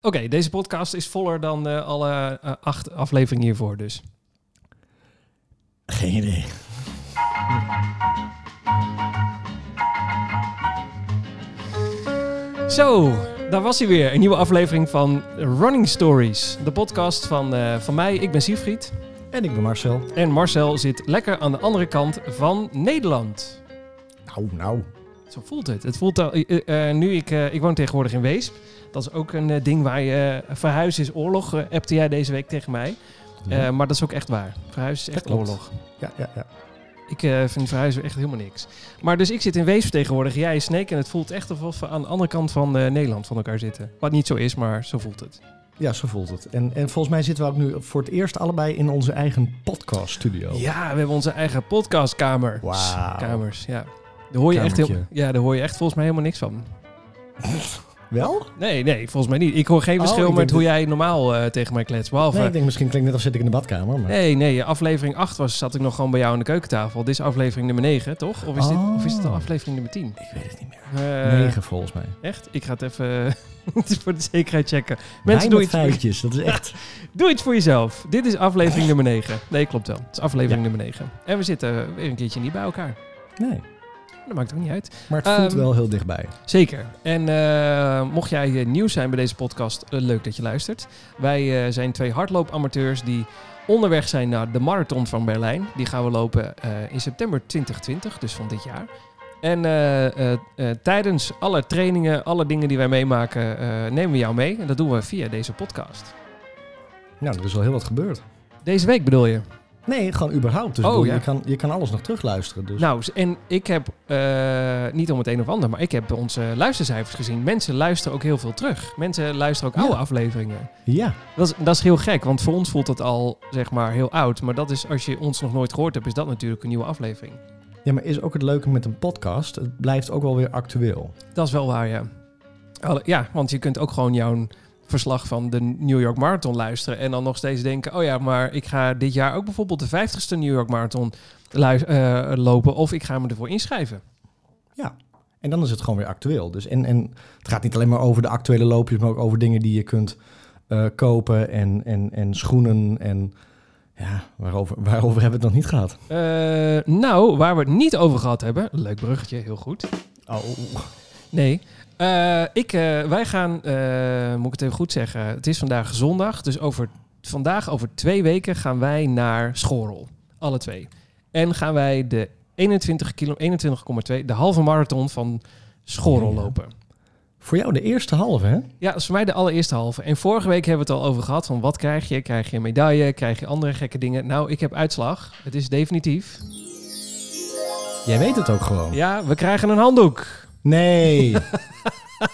Oké, deze podcast is voller dan eh, alle eh, acht afleveringen hiervoor dus. Geen idee. Zo, daar was hij weer. Een nieuwe aflevering van Running Stories. De podcast van, eh, van mij, ik ben Siegfried. En ik ben Marcel. En Marcel zit lekker aan de andere kant van Nederland. Nou, nou. Zo voelt het. Het voelt al, eh, eh, eh, nu ik, eh, ik woon tegenwoordig in Weesp. Dat is ook een eh, ding waar je eh, verhuis is oorlog, eh, appte jij deze week tegen mij. Eh, maar dat is ook echt waar. Verhuis is Dat echt klopt. oorlog. ja, ja, ja. Ik eh, vind verhuizen echt helemaal niks. Maar dus ik zit in Weesp tegenwoordig, jij in Sneek. En het voelt echt alsof we aan de andere kant van eh, Nederland van elkaar zitten. Wat niet zo is, maar zo voelt het. Ja, zo voelt het. En, en volgens mij zitten we ook nu voor het eerst allebei in onze eigen podcaststudio. Ja, we hebben onze eigen podcastkamer. Wauw. Kamers, ja. Daar hoor, je echt heel, Kamertje. ja, daar hoor je echt volgens mij helemaal niks van. Wel? Nee, nee, volgens mij niet. Ik hoor geen Oh, verschil ik met denk hoe jij normaal eh, tegen mij kletst. Behalve, Nee, ik denk misschien klinkt net als zit ik in de badkamer. Maar... nee, nee, aflevering 8 was, zat ik nog gewoon bij jou aan de keukentafel. Dit is aflevering nummer 9, toch? Of is, dit, Oh. of is dit al aflevering nummer 10? Ik weet het niet meer. Eh, Negen volgens mij. Echt? Ik ga het even voor de zekerheid checken. Mensen Mensen, doe iets, feitjes, dat is echt... doe iets voor jezelf. Dit is aflevering nummer 9. Nee, klopt wel. Het is aflevering nummer 9. En we zitten weer een keertje niet bij elkaar. Nee, Dat maakt ook niet uit. maar het voelt Ehm, wel heel dichtbij. Zeker. En eh, mocht jij eh, nieuw zijn bij deze podcast, eh, leuk dat je luistert. Wij eh, zijn twee hardloopamateurs die onderweg zijn naar de Marathon van Berlijn. Die gaan we lopen eh, in september 2020, dus van dit jaar. En eh, eh, eh, tijdens alle trainingen, alle dingen die wij meemaken, eh, nemen we jou mee. En dat doen we via deze podcast. Nou, er is al heel wat gebeurd. Deze week bedoel je? Nee, gewoon überhaupt. Dus ik Oh, bedoel, ja. je, kan, je kan alles nog terugluisteren. Dus. Nou, s- en ik heb, eh, niet om het een of ander, maar ik heb onze luistercijfers gezien. Mensen luisteren ook heel veel terug. Mensen luisteren ook oude Ja. afleveringen. Ja, Dat is, dat is heel gek, want voor ons voelt dat al, zeg maar, heel oud. Maar dat is, als je ons nog nooit gehoord hebt, is dat natuurlijk een nieuwe aflevering. ja, maar is ook het leuke met een podcast. Het blijft ook wel weer actueel. Dat is wel waar, ja. Alle- ja, want je kunt ook gewoon jouw verslag van de New York Marathon luisteren. En dan nog steeds denken, oh ja, maar ik ga dit jaar ook bijvoorbeeld de 50ste New York Marathon lui- eh, lopen. Of ik ga me ervoor inschrijven. En dan is het gewoon weer actueel. Dus en, en het gaat niet alleen maar over de actuele loopjes, maar ook over dingen die je kunt eh, kopen en, en, en schoenen. En ja, waarover, waarover hebben we het nog niet gehad? Eh, nou, waar we het niet over gehad hebben. Leuk bruggetje, heel goed. Oh, Nee. Eh, ik, eh, wij gaan, eh, moet ik het even goed zeggen. Het is vandaag zondag. Dus over, vandaag, over twee weken, gaan wij naar Schorel. Alle twee. En gaan wij de 21 kilo, 21,2, de halve marathon van Schorel Ja, ja. lopen. voor jou de eerste halve, hè? Ja, dat is voor mij de allereerste halve. En vorige week hebben we het al over gehad. Van wat krijg je? Krijg je een medaille? Krijg je andere gekke dingen? Nou, ik heb uitslag. Het is definitief. Jij weet het ook gewoon. Ja, we krijgen een handdoek. Nee.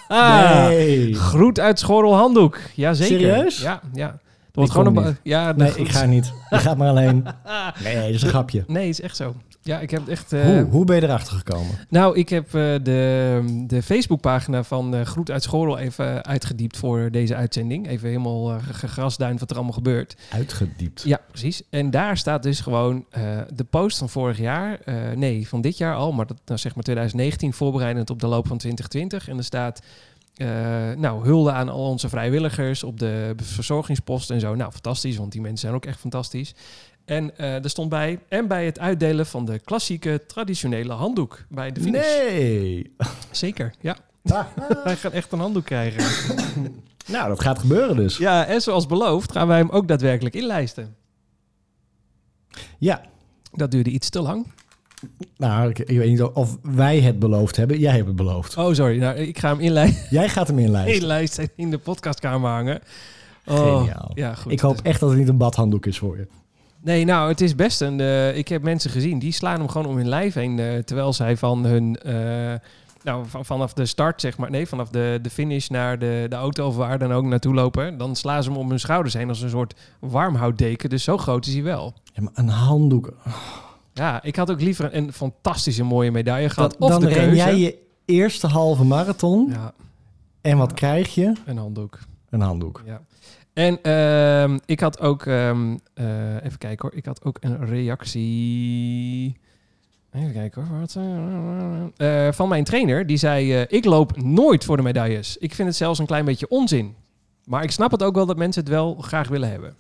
Ah, nee. groet uit Schorrel Handdoek. Jazeker. Serieus? Ja, ja. Er wordt kom gewoon een ba- niet. ja, de Nee, groet- ik ga niet. Je gaat maar alleen. Nee, dat is een grapje. Nee, is echt zo. Ja, ik heb echt... eh, Hoe, hoe ben je erachter gekomen? Nou, ik heb eh, de, de Facebookpagina van eh, Groet uit Schorrel even uitgediept voor deze uitzending. Even helemaal eh, gegrasduind wat er allemaal gebeurt. Uitgediept. Ja, precies. En daar staat dus gewoon eh, de post van vorig jaar. eh, nee, van dit jaar al, maar dat nou zeg maar 2019 voorbereidend op de loop van 2020. En er staat, eh, nou, hulde aan al onze vrijwilligers op de verzorgingspost en zo. Nou, fantastisch, want die mensen zijn ook echt fantastisch. En eh, er stond bij, en bij het uitdelen van de klassieke traditionele handdoek bij de finish. Nee. Zeker, ja. Ah, Wij gaan echt een handdoek krijgen. nou, dat gaat gebeuren dus. ja, en zoals beloofd gaan wij hem ook daadwerkelijk inlijsten. Ja, Dat duurde iets te lang. nou, ik, ik weet niet of wij het beloofd hebben. Jij hebt het beloofd. Oh, sorry. Nou, ik ga hem inlijsten. Jij gaat hem inlijsten. hele lijst in de podcastkamer hangen. Oh, Geniaal. Ja, goed. ik hoop echt dat het niet een badhanddoek is voor je. Nee, nou, het is best een... eh, ik heb mensen gezien, die slaan hem gewoon om hun lijf heen... eh, terwijl zij van hun... eh, nou, van- vanaf de start, zeg maar. Nee, vanaf de, de finish naar de, de auto of waar dan ook naartoe lopen. Dan slaan ze hem om hun schouders heen als een soort warmhouddeken. Dus zo groot is hij wel. Ja, maar een handdoek. Ja, ik had ook liever een, een fantastische mooie medaille gehad. Dat- of dan de ren keuze. jij je eerste halve marathon. Ja, En wat krijg je? een handdoek. Een handdoek. Ja. En ehm, ik had ook, ehm, eh, even kijken hoor, ik had ook een reactie. Even kijken hoor, wat. eh, eh, van mijn trainer, die zei: eh, Ik loop nooit voor de medailles. Ik vind het zelfs een klein beetje onzin. Maar ik snap het ook wel dat mensen het wel graag willen hebben.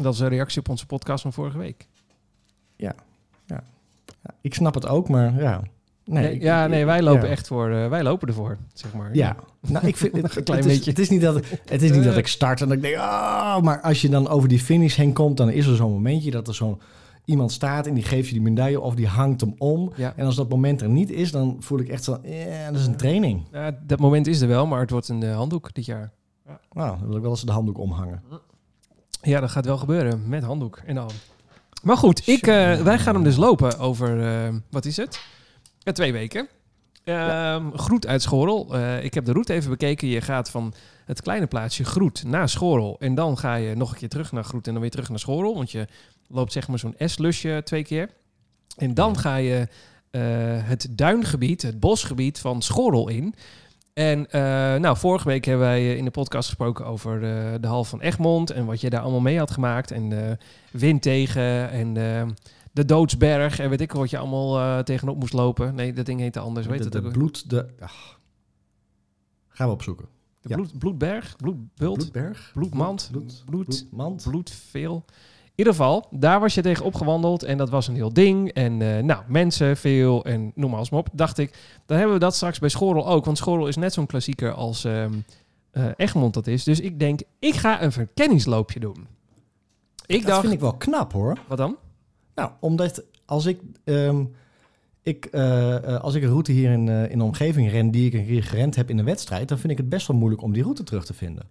Dat is een reactie op onze podcast van vorige week. Ja, ik snap het ook, maar ja. Nee, Nee, ik- ja, nee, wij lopen ja. echt voor, eh, wij lopen ervoor, zeg maar. Ja, nou, ik vind het, Een klein het, is, beetje. het is niet dat het is niet dat ik start en dat ik denk, ah, maar als je dan over die finish heen komt, dan is er zo'n momentje dat er zo'n iemand staat en die geeft je die medaille of die hangt hem om. Ja. En als dat moment er niet is, dan voel ik echt zo, eh, dat is een training. Ja, dat moment is er wel, maar het wordt een eh, handdoek dit jaar. Nou, dan wil ik wel eens de handdoek omhangen. Ja, dat gaat wel gebeuren met handdoek en al. Maar goed, ik, eh, wij gaan hem dus lopen over, eh, wat is het? Eh, twee weken. Ehm, Groet uit Schorl. Eh, ik heb de route even bekeken. Je gaat van het kleine plaatsje Groet naar Schorl. En dan ga je nog een keer terug naar Groet en dan weer terug naar Schorl. Want je loopt zeg maar zo'n S-lusje twee keer. En dan ga je eh, het duingebied, het bosgebied van Schorl in. En eh, nou, vorige week hebben wij eh, in de podcast gesproken over eh, de hal van Egmond en wat je daar allemaal mee had gemaakt. En eh, wind tegen en eh, de Doodsberg en weet ik wat je allemaal eh, tegenop moest lopen. Nee, dat ding heette anders. Weet de, het de ook? bloed, de... ach. Gaan we opzoeken. De Ja. bloed, bloedberg, bloedbult, Bloedberg? bloedmand, Bloed, bloed, bloedmand? bloedveel. In ieder geval, daar was je tegen opgewandeld en dat was een heel ding. En eh, nou, mensen veel en noem maar eens maar op. Dacht ik, dan hebben we dat straks bij Schorl ook. Want Schorl is net zo'n klassieker als ehm, eh, Egmond dat is. Dus ik denk, ik ga een verkenningsloopje doen. Ik dat dacht, vind ik wel knap hoor. wat dan? Nou, omdat als ik, ehm, ik, eh, eh, als ik een route hier in, eh, in de omgeving ren die ik een keer gerend heb in de wedstrijd, dan vind ik het best wel moeilijk om die route terug te vinden.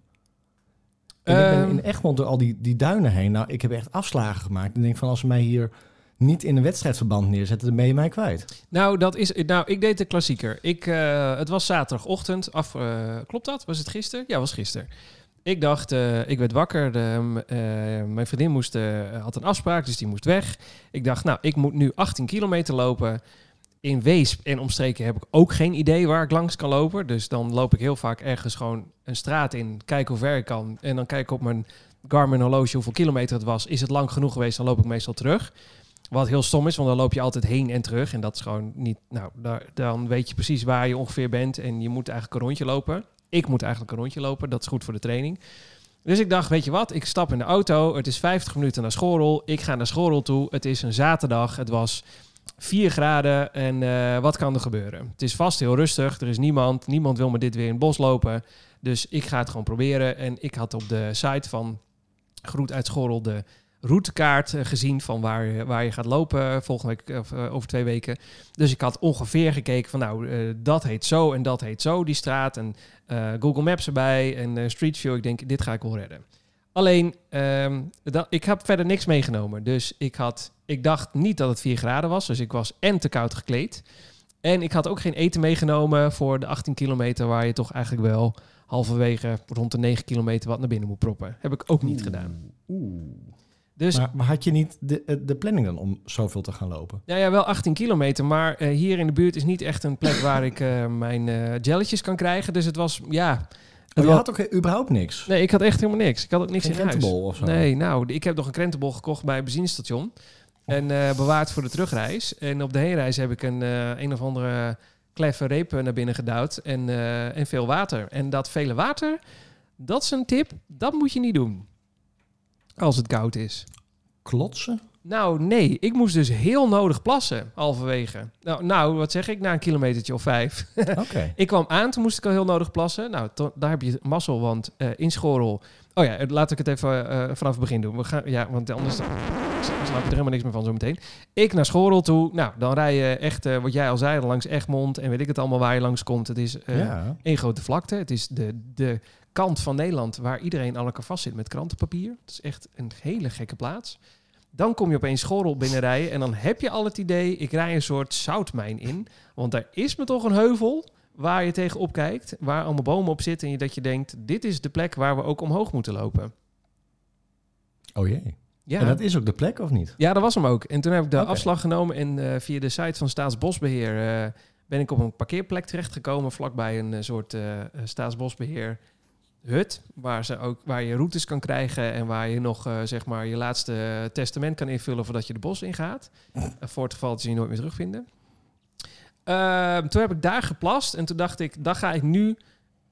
En ik ben Ehm. in Egmond door al die, die duinen heen. Nou, ik heb echt afslagen gemaakt. Ik denk van als ze mij hier niet in een wedstrijdverband neerzetten, dan ben je mij kwijt. Nou, dat is, nou, ik deed de klassieker. Ik, eh, het was zaterdagochtend. Af, eh, klopt dat? Was het gisteren? Ja, was gisteren. Ik dacht, eh, ik werd wakker. de, m- eh, mijn vriendin moest, eh, had een afspraak, dus die moest weg. Ik dacht, nou, ik moet nu 18 kilometer lopen. In Weesp en omstreken heb ik ook geen idee waar ik langs kan lopen. Dus dan loop ik heel vaak ergens gewoon een straat in, kijk hoe ver ik kan. En dan kijk ik op mijn Garmin horloge hoeveel kilometer het was. Is het lang genoeg geweest, dan loop ik meestal terug. Wat heel stom is, want dan loop je altijd heen en terug. En dat is gewoon niet. Nou, daar, dan weet je precies waar je ongeveer bent. En je moet eigenlijk een rondje lopen. Ik moet eigenlijk een rondje lopen. Dat is goed voor de training. Dus ik dacht, weet je wat? Ik stap in de auto. Het is 50 minuten naar Schorl. Ik ga naar Schorl toe. Het is een zaterdag. Het was 4 graden. En eh, wat kan er gebeuren? Het is vast heel rustig. Er is niemand. Niemand wil me dit weer in het bos lopen. Dus ik ga het gewoon proberen. En ik had op de site van Groet uit Schorl de routekaart eh, gezien van waar, je- waar je gaat lopen eh, volgende week of eh, over twee weken. Dus ik had ongeveer gekeken van nou, eh, dat heet zo en dat heet zo, die straat. En eh, Google Maps erbij en eh, Street View. Ik denk, dit ga ik wel redden. Alleen, ehm, dat, ik heb verder niks meegenomen. Dus ik, had, ik dacht niet dat het 4 graden was. Dus ik was en te koud gekleed. En ik had ook geen eten meegenomen voor de 18 kilometer... waar je toch eigenlijk wel halverwege rond de 9 kilometer wat naar binnen moet proppen. Heb ik ook Hmm. niet gedaan. Dus Maar, maar had je niet de, eh, de planning dan om zoveel te gaan lopen? Nou ja, wel 18 kilometer, maar eh, hier in de buurt is niet echt een plek waar ik eh, mijn eh jelletjes kan krijgen. Dus het was, ja. Je Het was- had ook eh, überhaupt niks. Nee, ik had echt helemaal niks. Ik had ook niks Geen in huis. krentenbol of zo. Nee, nou, ik heb nog een krentenbol gekocht bij een benzinestation. En eh, bewaard voor de terugreis. En op de heenreis heb ik een, eh, een of andere kleffe reep eh, naar binnen gedouwd. En, eh, en veel water. En dat vele water, dat is een tip. Dat moet je niet doen. Als het koud is. Klotsen? Nou, nee. Ik moest dus heel nodig plassen, halverwege. Nou, nou wat zeg ik, na een kilometertje of vijf. Oké. ik kwam aan, toen moest ik al heel nodig plassen. Nou, to- daar heb je mazzel, want eh, in Schorl... Oh ja, eh, laat ik het even eh, vanaf het begin doen. We gaan, ja, want anders dan snap je er helemaal niks meer van zo meteen. Ik naar Schorl toe. Nou, dan rij je echt, eh, wat jij al zei, langs Egmond... en weet ik het allemaal waar je langs komt. Het is eh, ja. één grote vlakte. Het is de, de kant van Nederland waar iedereen aan elkaar vast zit met krantenpapier. Het is echt een hele gekke plaats. Dan kom je opeens Schorl binnenrijden en dan heb je al het idee... ik rij een soort zoutmijn in, want daar is me toch een heuvel... waar je tegenop kijkt, waar allemaal bomen op zitten... en je- dat je denkt, dit is de plek waar we ook omhoog moeten lopen. Oh jee. Ja, En dat is ook de plek of niet? ja, dat was hem ook. En toen heb ik de Oké. afslag genomen en eh, via de site van Staatsbosbeheer eh, ben ik op een parkeerplek terechtgekomen vlakbij een eh, soort eh, eh, Staatsbosbeheer hut waar, ze ook, waar je routes kan krijgen en waar je nog eh, zeg maar je laatste eh, testament kan invullen voordat je de bos ingaat. gaat. voor het geval dat ze je nooit meer terugvinden. Ehm, toen heb ik daar geplast en toen dacht ik, dan ga ik nu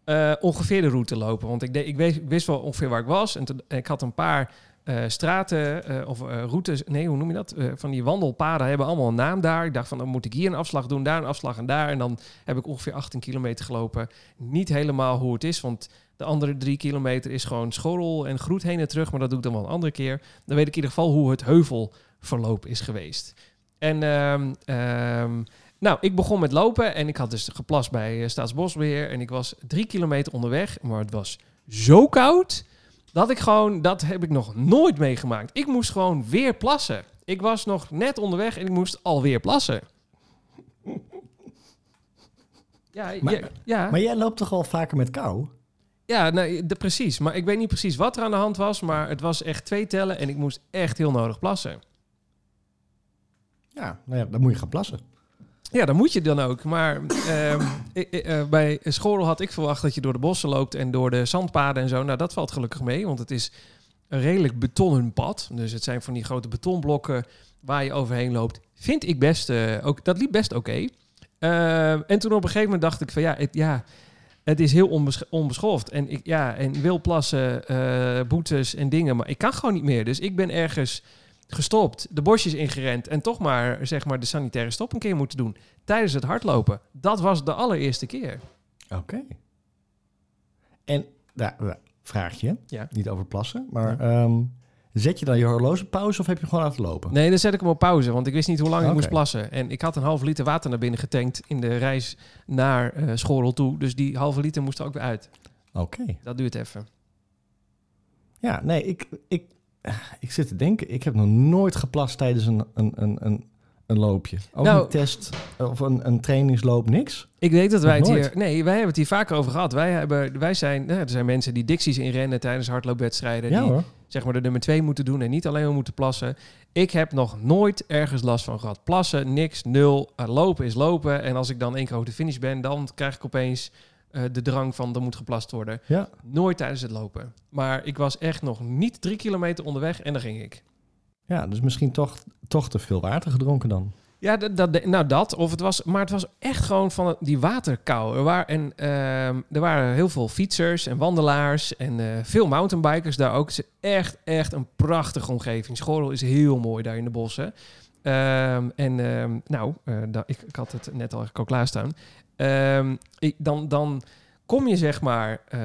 eh, ongeveer de route lopen. Want ik, de, ik, weet, ik wist wel ongeveer waar ik was. En toen- ik had een paar eh, straten eh, of eh, routes. Nee, hoe noem je dat? Eh, van die wandelpaden hebben allemaal een naam daar. Ik dacht van dan moet ik hier een afslag doen, daar een afslag en daar. En dan heb ik ongeveer 18 kilometer gelopen. Niet helemaal hoe het is. Want de andere drie kilometer is gewoon schorrel en groet heen en terug. Maar dat doe ik dan wel een andere keer. Dan weet ik in ieder geval hoe het heuvelverloop is geweest. En ehm, ehm, nou, ik begon met lopen en ik had dus geplast bij eh, Staatsbosbeheer. En ik was drie kilometer onderweg, maar het was zo koud dat ik gewoon, dat heb ik nog nooit meegemaakt. Ik moest gewoon weer plassen. Ik was nog net onderweg en ik moest alweer plassen. Ja, Maar- ja, ja. Maar jij loopt toch wel vaker met kou? Ja, nee, de, precies. Maar ik weet niet precies wat er aan de hand was. Maar het was echt twee tellen en ik moest echt heel nodig plassen. Ja, nou ja, dan moet je gaan plassen. Ja, dat moet je dan ook. Maar ehm, ik- ik- eh, bij Schorl had ik verwacht dat je door de bossen loopt en door de zandpaden en zo. Nou, dat valt gelukkig mee, want het is een redelijk betonnen pad. Dus het zijn van die grote betonblokken waar je overheen loopt. Vind ik best, eh, ook, dat liep best oké. Ehm, en toen op een gegeven moment dacht ik van ja, het, ja, het is heel onbesch onbeschoft. En ik ja, en wil plassen, eh, boetes en dingen, maar ik kan gewoon niet meer. Dus ik ben ergens gestopt, de bosjes ingerend en toch maar, zeg maar de sanitaire stop een keer moeten doen tijdens het hardlopen. Dat was de allereerste keer. Oké. En, daar daar- vraagje. Ja. Niet over plassen, maar ehm, zet je dan je horloge op pauze of heb je gewoon laten lopen? Nee, dan zet ik hem op pauze, want ik wist niet hoe lang ik Oké. moest plassen. En ik had een half liter water naar binnen getankt in de reis naar eh Schorl toe. Dus die halve liter moest er ook weer uit. Oké. Dat duurt even. Ja, nee, ik, ik, ik zit te denken. Ik heb nog nooit geplast tijdens een, een, een, een, een loopje. Ook Nou- een test of een, een trainingsloop, niks. Ik weet dat wij het Nog hier... nooit. Nee, wij hebben het hier vaker over gehad. Wij, hebben, wij zijn... nou, er zijn mensen die dicties inrennen tijdens hardloopwedstrijden. ja die hoor. zeg maar de nummer twee moeten doen en niet alleen maar moeten plassen. Ik heb nog nooit ergens last van gehad. Plassen, niks, nul. Eh, lopen is lopen. En als ik dan één keer over de finish ben, dan krijg ik opeens eh, de drang van er moet geplast worden. Ja. Nooit tijdens het lopen. Maar ik was echt nog niet drie kilometer onderweg en daar ging ik. Ja, dus misschien toch, toch te veel water gedronken dan. Ja, dat, dat, nou dat. Of het was, maar het was echt gewoon van het- die waterkou. Er, waren, en, ehm, er waren heel veel fietsers en wandelaars en eh, veel mountainbikers daar ook. Het is echt, echt een prachtige omgeving. Schorl is heel mooi daar in de bossen. Ehm, en ehm, nou, eh, da- ik, ik had het net al eigenlijk al klaarstaan. Ehm, ik, dan, dan kom je zeg maar eh,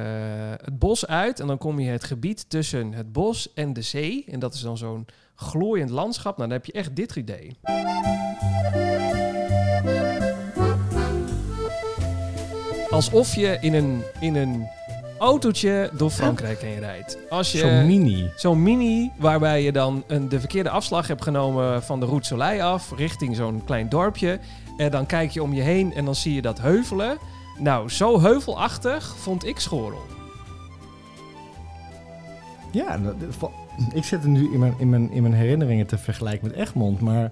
het bos uit en dan kom je het gebied tussen het bos en de zee. En dat is dan zo'n glooiend landschap. Nou, dan heb je echt dit idee. Alsof je in een, in een autootje door Frankrijk heen rijdt. Als je Zo'n mini. Zo'n mini waarbij je dan een, de verkeerde afslag hebt genomen van de Route Soleil af richting zo'n klein dorpje. En dan kijk je om je heen en dan zie je dat heuvelen. Nou, zo heuvelachtig vond ik Schorel. Ja, dat- dat- va- ik zit er nu in mijn, in, mijn, in mijn herinneringen te vergelijken met Egmond, maar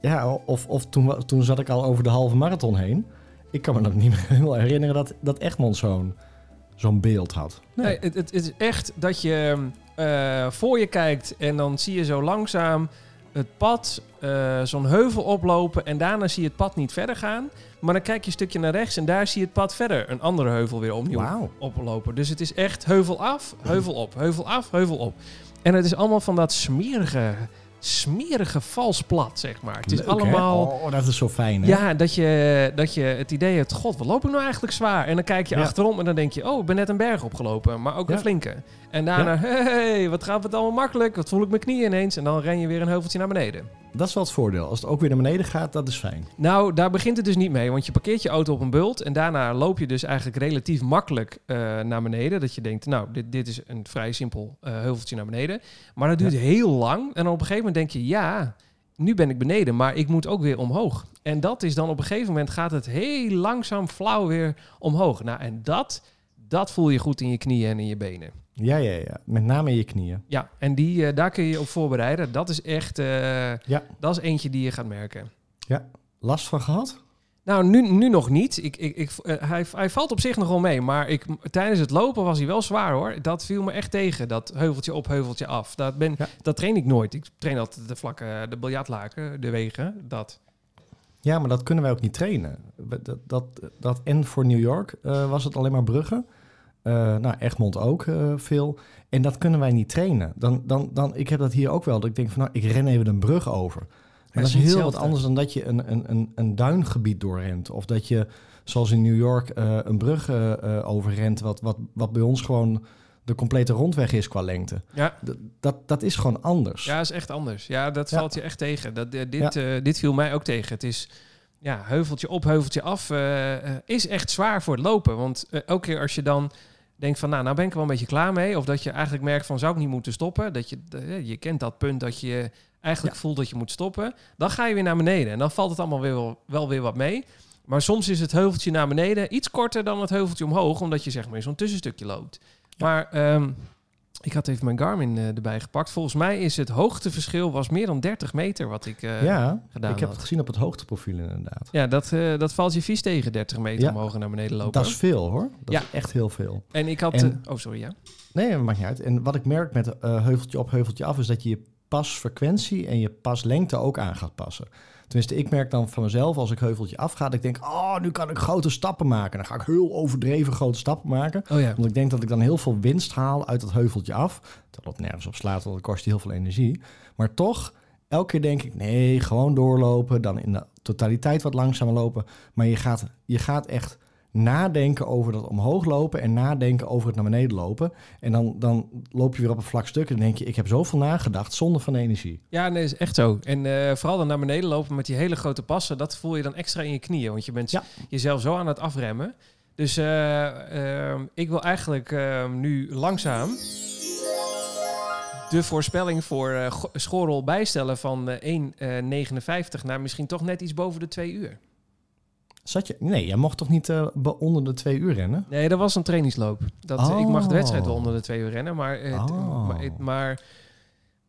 ja, of, of toen, wa- toen zat ik al over de halve marathon heen. Ik kan me nog niet meer helemaal herinneren dat, dat Egmond zo'n zo'n beeld had. Nee. het, het is echt dat je eh, voor je kijkt en dan zie je zo langzaam het pad, eh, zo'n heuvel oplopen en daarna zie je het pad niet verder gaan. Maar dan kijk je een stukje naar rechts en daar zie je het pad verder, een andere heuvel weer opnieuw. Wauw. oplopen. Dus het is echt heuvel af, heuvel op, heuvel af, heuvel op. En het is allemaal van dat smerige, smerige vals plat, zeg maar. Het is Leuk, hè? allemaal... Oh, dat is zo fijn, hè? Ja, dat je, dat je het idee hebt, god, wat loop ik nou eigenlijk zwaar? En dan kijk je Ja. achterom en dan denk je, oh, ik ben net een berg opgelopen, maar ook een Ja. flinke. En daarna, hey, wat gaat het allemaal makkelijk? Wat voel ik mijn knieën ineens? En dan ren je weer een heuveltje naar beneden. Dat is wel het voordeel. Als het ook weer naar beneden gaat, dat is fijn. Nou, daar begint het dus niet mee, want je parkeert je auto op een bult en daarna loop je dus eigenlijk relatief makkelijk eh, naar beneden. Dat je denkt, nou, dit, dit is een vrij simpel eh, heuveltje naar beneden. Maar dat duurt heel lang en dan op een gegeven moment denk je, ja, nu ben ik beneden, maar ik moet ook weer omhoog. En dat is dan op een gegeven moment gaat het heel langzaam flauw weer omhoog. Nou, en dat, dat voel je goed in je knieën en in je benen. Ja, ja, ja. Met name in je knieën. Ja, en die, eh, daar kun je je op voorbereiden. Dat is echt, eh, Ja. dat is eentje die je gaat merken. Last van gehad? Nou, nu, nu nog niet. Ik, ik, ik, eh, hij, hij valt op zich nog wel mee. Maar ik, tijdens het lopen was hij wel zwaar hoor. Dat viel me echt tegen. Dat heuveltje op, heuveltje af. Dat, ben, Ja. dat train ik nooit. Ik train altijd de vlakke, de biljartlaken, de wegen. Dat. Ja, maar dat kunnen wij ook niet trainen. We- Dat, dat, dat en voor New York eh, was het alleen maar Brugge. Eh, nou, Egmond ook eh, veel. En dat kunnen wij niet trainen. Dan, dan, dan, ik heb dat hier ook wel. Dat ik denk van, nou, ik ren even een brug over. Maar het dat is is niet heel wat hetzelfde. anders dan dat je een, een, een, een duingebied doorrent. Of dat je, zoals in New York, eh, een brug eh, eh, overrent. Wat, wat, wat bij ons gewoon de complete rondweg is qua lengte. Ja. D- Dat, dat is gewoon anders. Ja, is echt anders. Ja, dat Ja. valt je echt tegen. Dat, eh, dit, eh, dit viel mij ook tegen. Het is ja, heuveltje op, heuveltje af. eh, eh, is echt zwaar voor het lopen. Want eh, elke keer als je dan denkt van, nou, nou ben ik er wel een beetje klaar mee. Of dat je eigenlijk merkt van, zou ik niet moeten stoppen? Dat je, eh, je kent dat punt dat je eigenlijk voelt dat je moet stoppen. Dan ga je weer naar beneden. En dan valt het allemaal weer wel, wel weer wat mee. Maar soms is het heuveltje naar beneden iets korter dan het heuveltje omhoog. Omdat je zeg maar in zo'n tussenstukje loopt. Maar ehm, ik had even mijn Garmin eh, erbij gepakt. Volgens mij is het hoogteverschil was meer dan 30 meter wat ik eh, ja, gedaan ik heb het had. gezien op het hoogteprofiel inderdaad. Ja, dat, eh, dat valt je vies tegen, 30 meter Ja. omhoog en naar beneden lopen. Dat is veel hoor. Dat Ja. is echt heel veel. En ik had... En- eh, oh, sorry, ja. Nee, dat maakt niet uit. En wat ik merk met eh, heuveltje op, heuveltje af, is dat je je pasfrequentie en je paslengte ook aan gaat passen. Tenminste, ik merk dan van mezelf als ik heuveltje afga, dat ik denk, oh, nu kan ik grote stappen maken. Dan ga ik heel overdreven grote stappen maken. Oh ja. Want ik denk dat ik dan heel veel winst haal uit dat heuveltje af. Dat dat nergens op slaat, want dat kost je heel veel energie. Maar toch, elke keer denk ik, nee, gewoon doorlopen. Dan in de totaliteit wat langzamer lopen. Maar je gaat, je gaat echt nadenken over dat omhoog lopen en nadenken over het naar beneden lopen. En dan, dan loop je weer op een vlak stuk en dan denk je, ik heb zoveel nagedacht zonder van energie. Ja, nee, is echt zo. En eh, vooral dan naar beneden lopen met die hele grote passen, dat voel je dan extra in je knieën. Want je bent Ja. jezelf zo aan het afremmen. Dus eh, ehm, ik wil eigenlijk ehm, nu langzaam de voorspelling voor eh, Go- Schorrel bijstellen van eh, 1,59 naar misschien toch net iets boven de 2 uur. Zat je? Nee, jij mocht toch niet eh, be- onder de twee uur rennen? Nee, dat was een trainingsloop. Dat, eh, Ik mag de wedstrijd wel onder de 2 uur rennen, maar, eh, t- Oh. maar, het- maar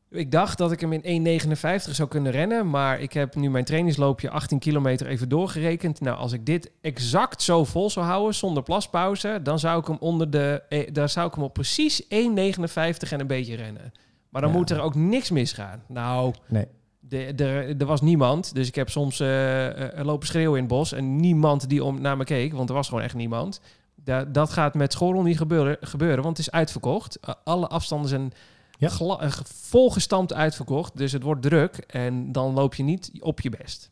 ik dacht dat ik hem in 1,59 zou kunnen rennen. Maar ik heb nu mijn trainingsloopje 18 kilometer even doorgerekend. Nou, als ik dit exact zo vol zou houden, zonder plaspauze, dan zou ik hem onder de. eh, daar zou ik hem op precies 1,59 en een beetje rennen. Maar dan Ja. moet er ook niks misgaan. Nou, Nee. de- de- er was niemand. Dus ik heb soms eh, eh, lopen schreeuwen in het bos. En niemand die om, naar me keek, want er was gewoon echt niemand. Da- dat gaat met Schorrel niet gebeuren, gebeuren, want het is uitverkocht. Eh, alle afstanden zijn Ja. gla- eh, ge- volgestampt uitverkocht. Dus het wordt druk en dan loop je niet op je best.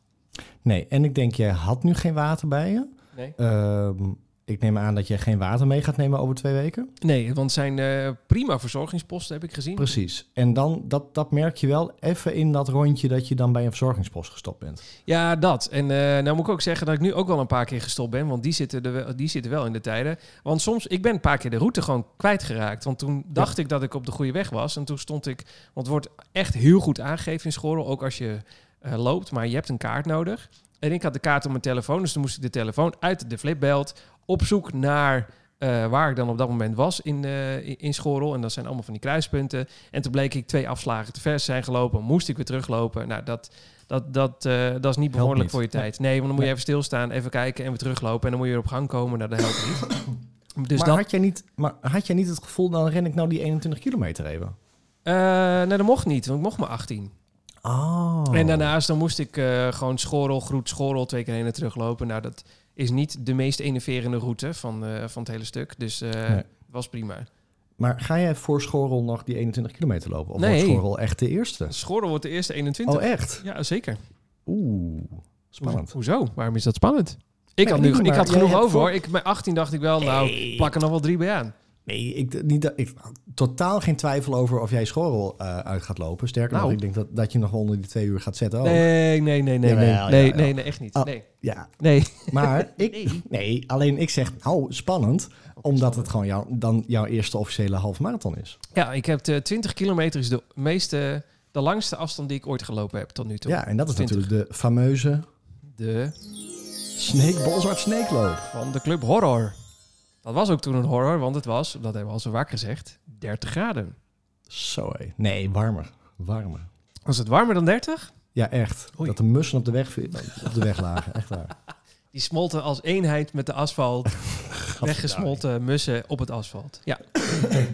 Nee, en ik denk, jij had nu geen water bij je. Nee, Ehm, ik neem aan dat je geen water mee gaat nemen over twee weken. nee want het zijn eh, prima verzorgingsposten, heb ik gezien. Precies. En dan, dat, dat merk je wel even in dat rondje dat je dan bij een verzorgingspost gestopt bent. Ja, dat. En eh, nou moet ik ook zeggen dat ik nu ook wel een paar keer gestopt ben. Want die zitten, er wel, die zitten wel in de tijden. Want soms, ik ben een paar keer de route gewoon kwijtgeraakt. Want toen dacht ik dat ik op de goede weg was. En toen stond ik, want het wordt echt heel goed aangegeven in Schorrel. Ook als je eh, loopt, maar je hebt een kaart nodig. En ik had de kaart op mijn telefoon. Dus toen moest ik de telefoon uit de flipbelt op zoek naar... eh, waar ik dan op dat moment was in, eh, in- in Schorrel. En dat zijn allemaal van die kruispunten. En toen bleek ik twee afslagen te ver zijn gelopen. Moest ik weer teruglopen. Nou, dat, dat, dat, eh, dat is niet behoorlijk niet. voor je Nee. tijd. Nee, want dan moet je Nee. even stilstaan, even kijken en weer teruglopen. En dan moet je weer op gang komen. Nou, dat helpt niet. Dus maar, dat, had jij niet, maar had jij niet het gevoel, dan ren ik nou die 21 kilometer even? eh, nee, dat mocht niet, want ik mocht maar 18. Oh. En daarnaast dan moest ik eh, gewoon schorrel, groet, schorrel twee keer heen en teruglopen. Nou, dat is niet de meest enerverende route van, eh, van het hele stuk. Dus eh Nee. was prima. Maar ga jij voor Schorrel nog die 21 kilometer lopen? Of Nee. wordt Schorrel echt de eerste? Schorrel wordt de eerste 21. Oh, echt? Ja, zeker. Oeh, spannend. Ho- hoezo? Waarom is dat spannend? Ik had, ik nu, niet, ik maar had jij genoeg hebt over voor- hoor. Ik, mijn 18 dacht ik wel, nou, Nee. plak er nog wel drie bij aan. Nee, ik, niet, dat- ik totaal geen twijfel over of jij Schorrel eh, uit gaat lopen. Sterker Nou. nog, ik denk dat, dat je nog onder die twee uur gaat zetten. ook. Nee, nee, nee, nee, Jawel, nee, Oh. jawel, nee, jawel. nee, nee, echt niet. Ah. Nee, Ja, nee. Maar ik, nee. alleen ik zeg, nou, spannend, omdat het gewoon jou, dan jouw eerste officiële halve marathon is. Ja, ik heb de 20 kilometer is de meeste, de langste afstand die ik ooit gelopen heb tot nu toe. Ja, en dat is 20. natuurlijk de fameuze De Snake Bolzwart Sneekloop. van de club Horror. Dat was ook toen een horror, want het was, dat hebben we al zo vaak gezegd, 30 graden. Zo hé. Nee, warmer. Warmer. Was het warmer dan 30? Ja, echt. Oei. Dat de mussen op de weg, op de weg lagen. Echt waar. Die smolten als eenheid met de asfalt. Weggesmolten mussen op het asfalt. Ja,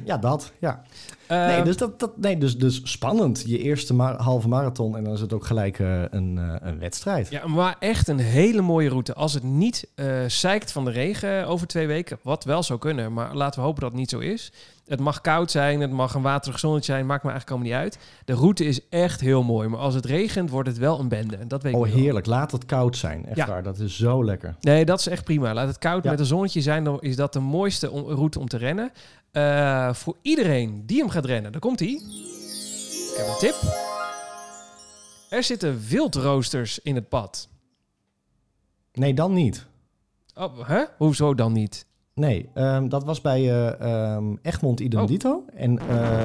ja, dat. Ja. Eh, Nee, dus, dat, dat, nee, dus, dus spannend. Je eerste ma- halve marathon en dan is het ook gelijk eh, een, eh, een wedstrijd. Ja, maar echt een hele mooie route. Als het niet eh zeikt van de regen over twee weken, wat wel zou kunnen, maar laten we hopen dat het niet zo is. Het mag koud zijn, het mag een waterig zonnetje zijn, maakt me eigenlijk allemaal niet uit. De route is echt heel mooi, maar als het regent wordt het wel een bende. En Dat weet ik oh, wel. heerlijk. Laat het koud zijn. Echt Ja. waar. Dat is zo lekker. Nee, dat is echt prima. Laat het koud Ja. met een zonnetje zijn, dan is dat de mooiste om- route om te rennen. Eh, voor iedereen die hem gaat rennen, daar komt hij. Ik heb een tip. Er zitten wildroosters in het pad. Nee, dan niet. Oh, hè? Hoezo dan niet? Nee, ehm, dat was bij eh, ehm, Egmond Oh. Idendito. En eh,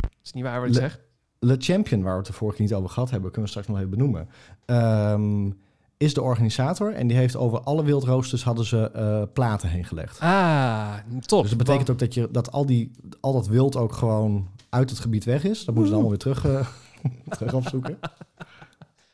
Dat is niet waar wat ik Le- zeg. Le Champion, waar we het de vorige keer niet over gehad hebben, kunnen we straks nog even benoemen, ehm, is de organisator. En die heeft over alle wildroosters hadden ze eh, platen heen gelegd. Ah, top. Dus dat betekent ook dat, je, dat, al, die, al dat wild ook gewoon uit het gebied weg is. Dat moeten Hmm. ze dan allemaal weer terug, eh, terug opzoeken. Dus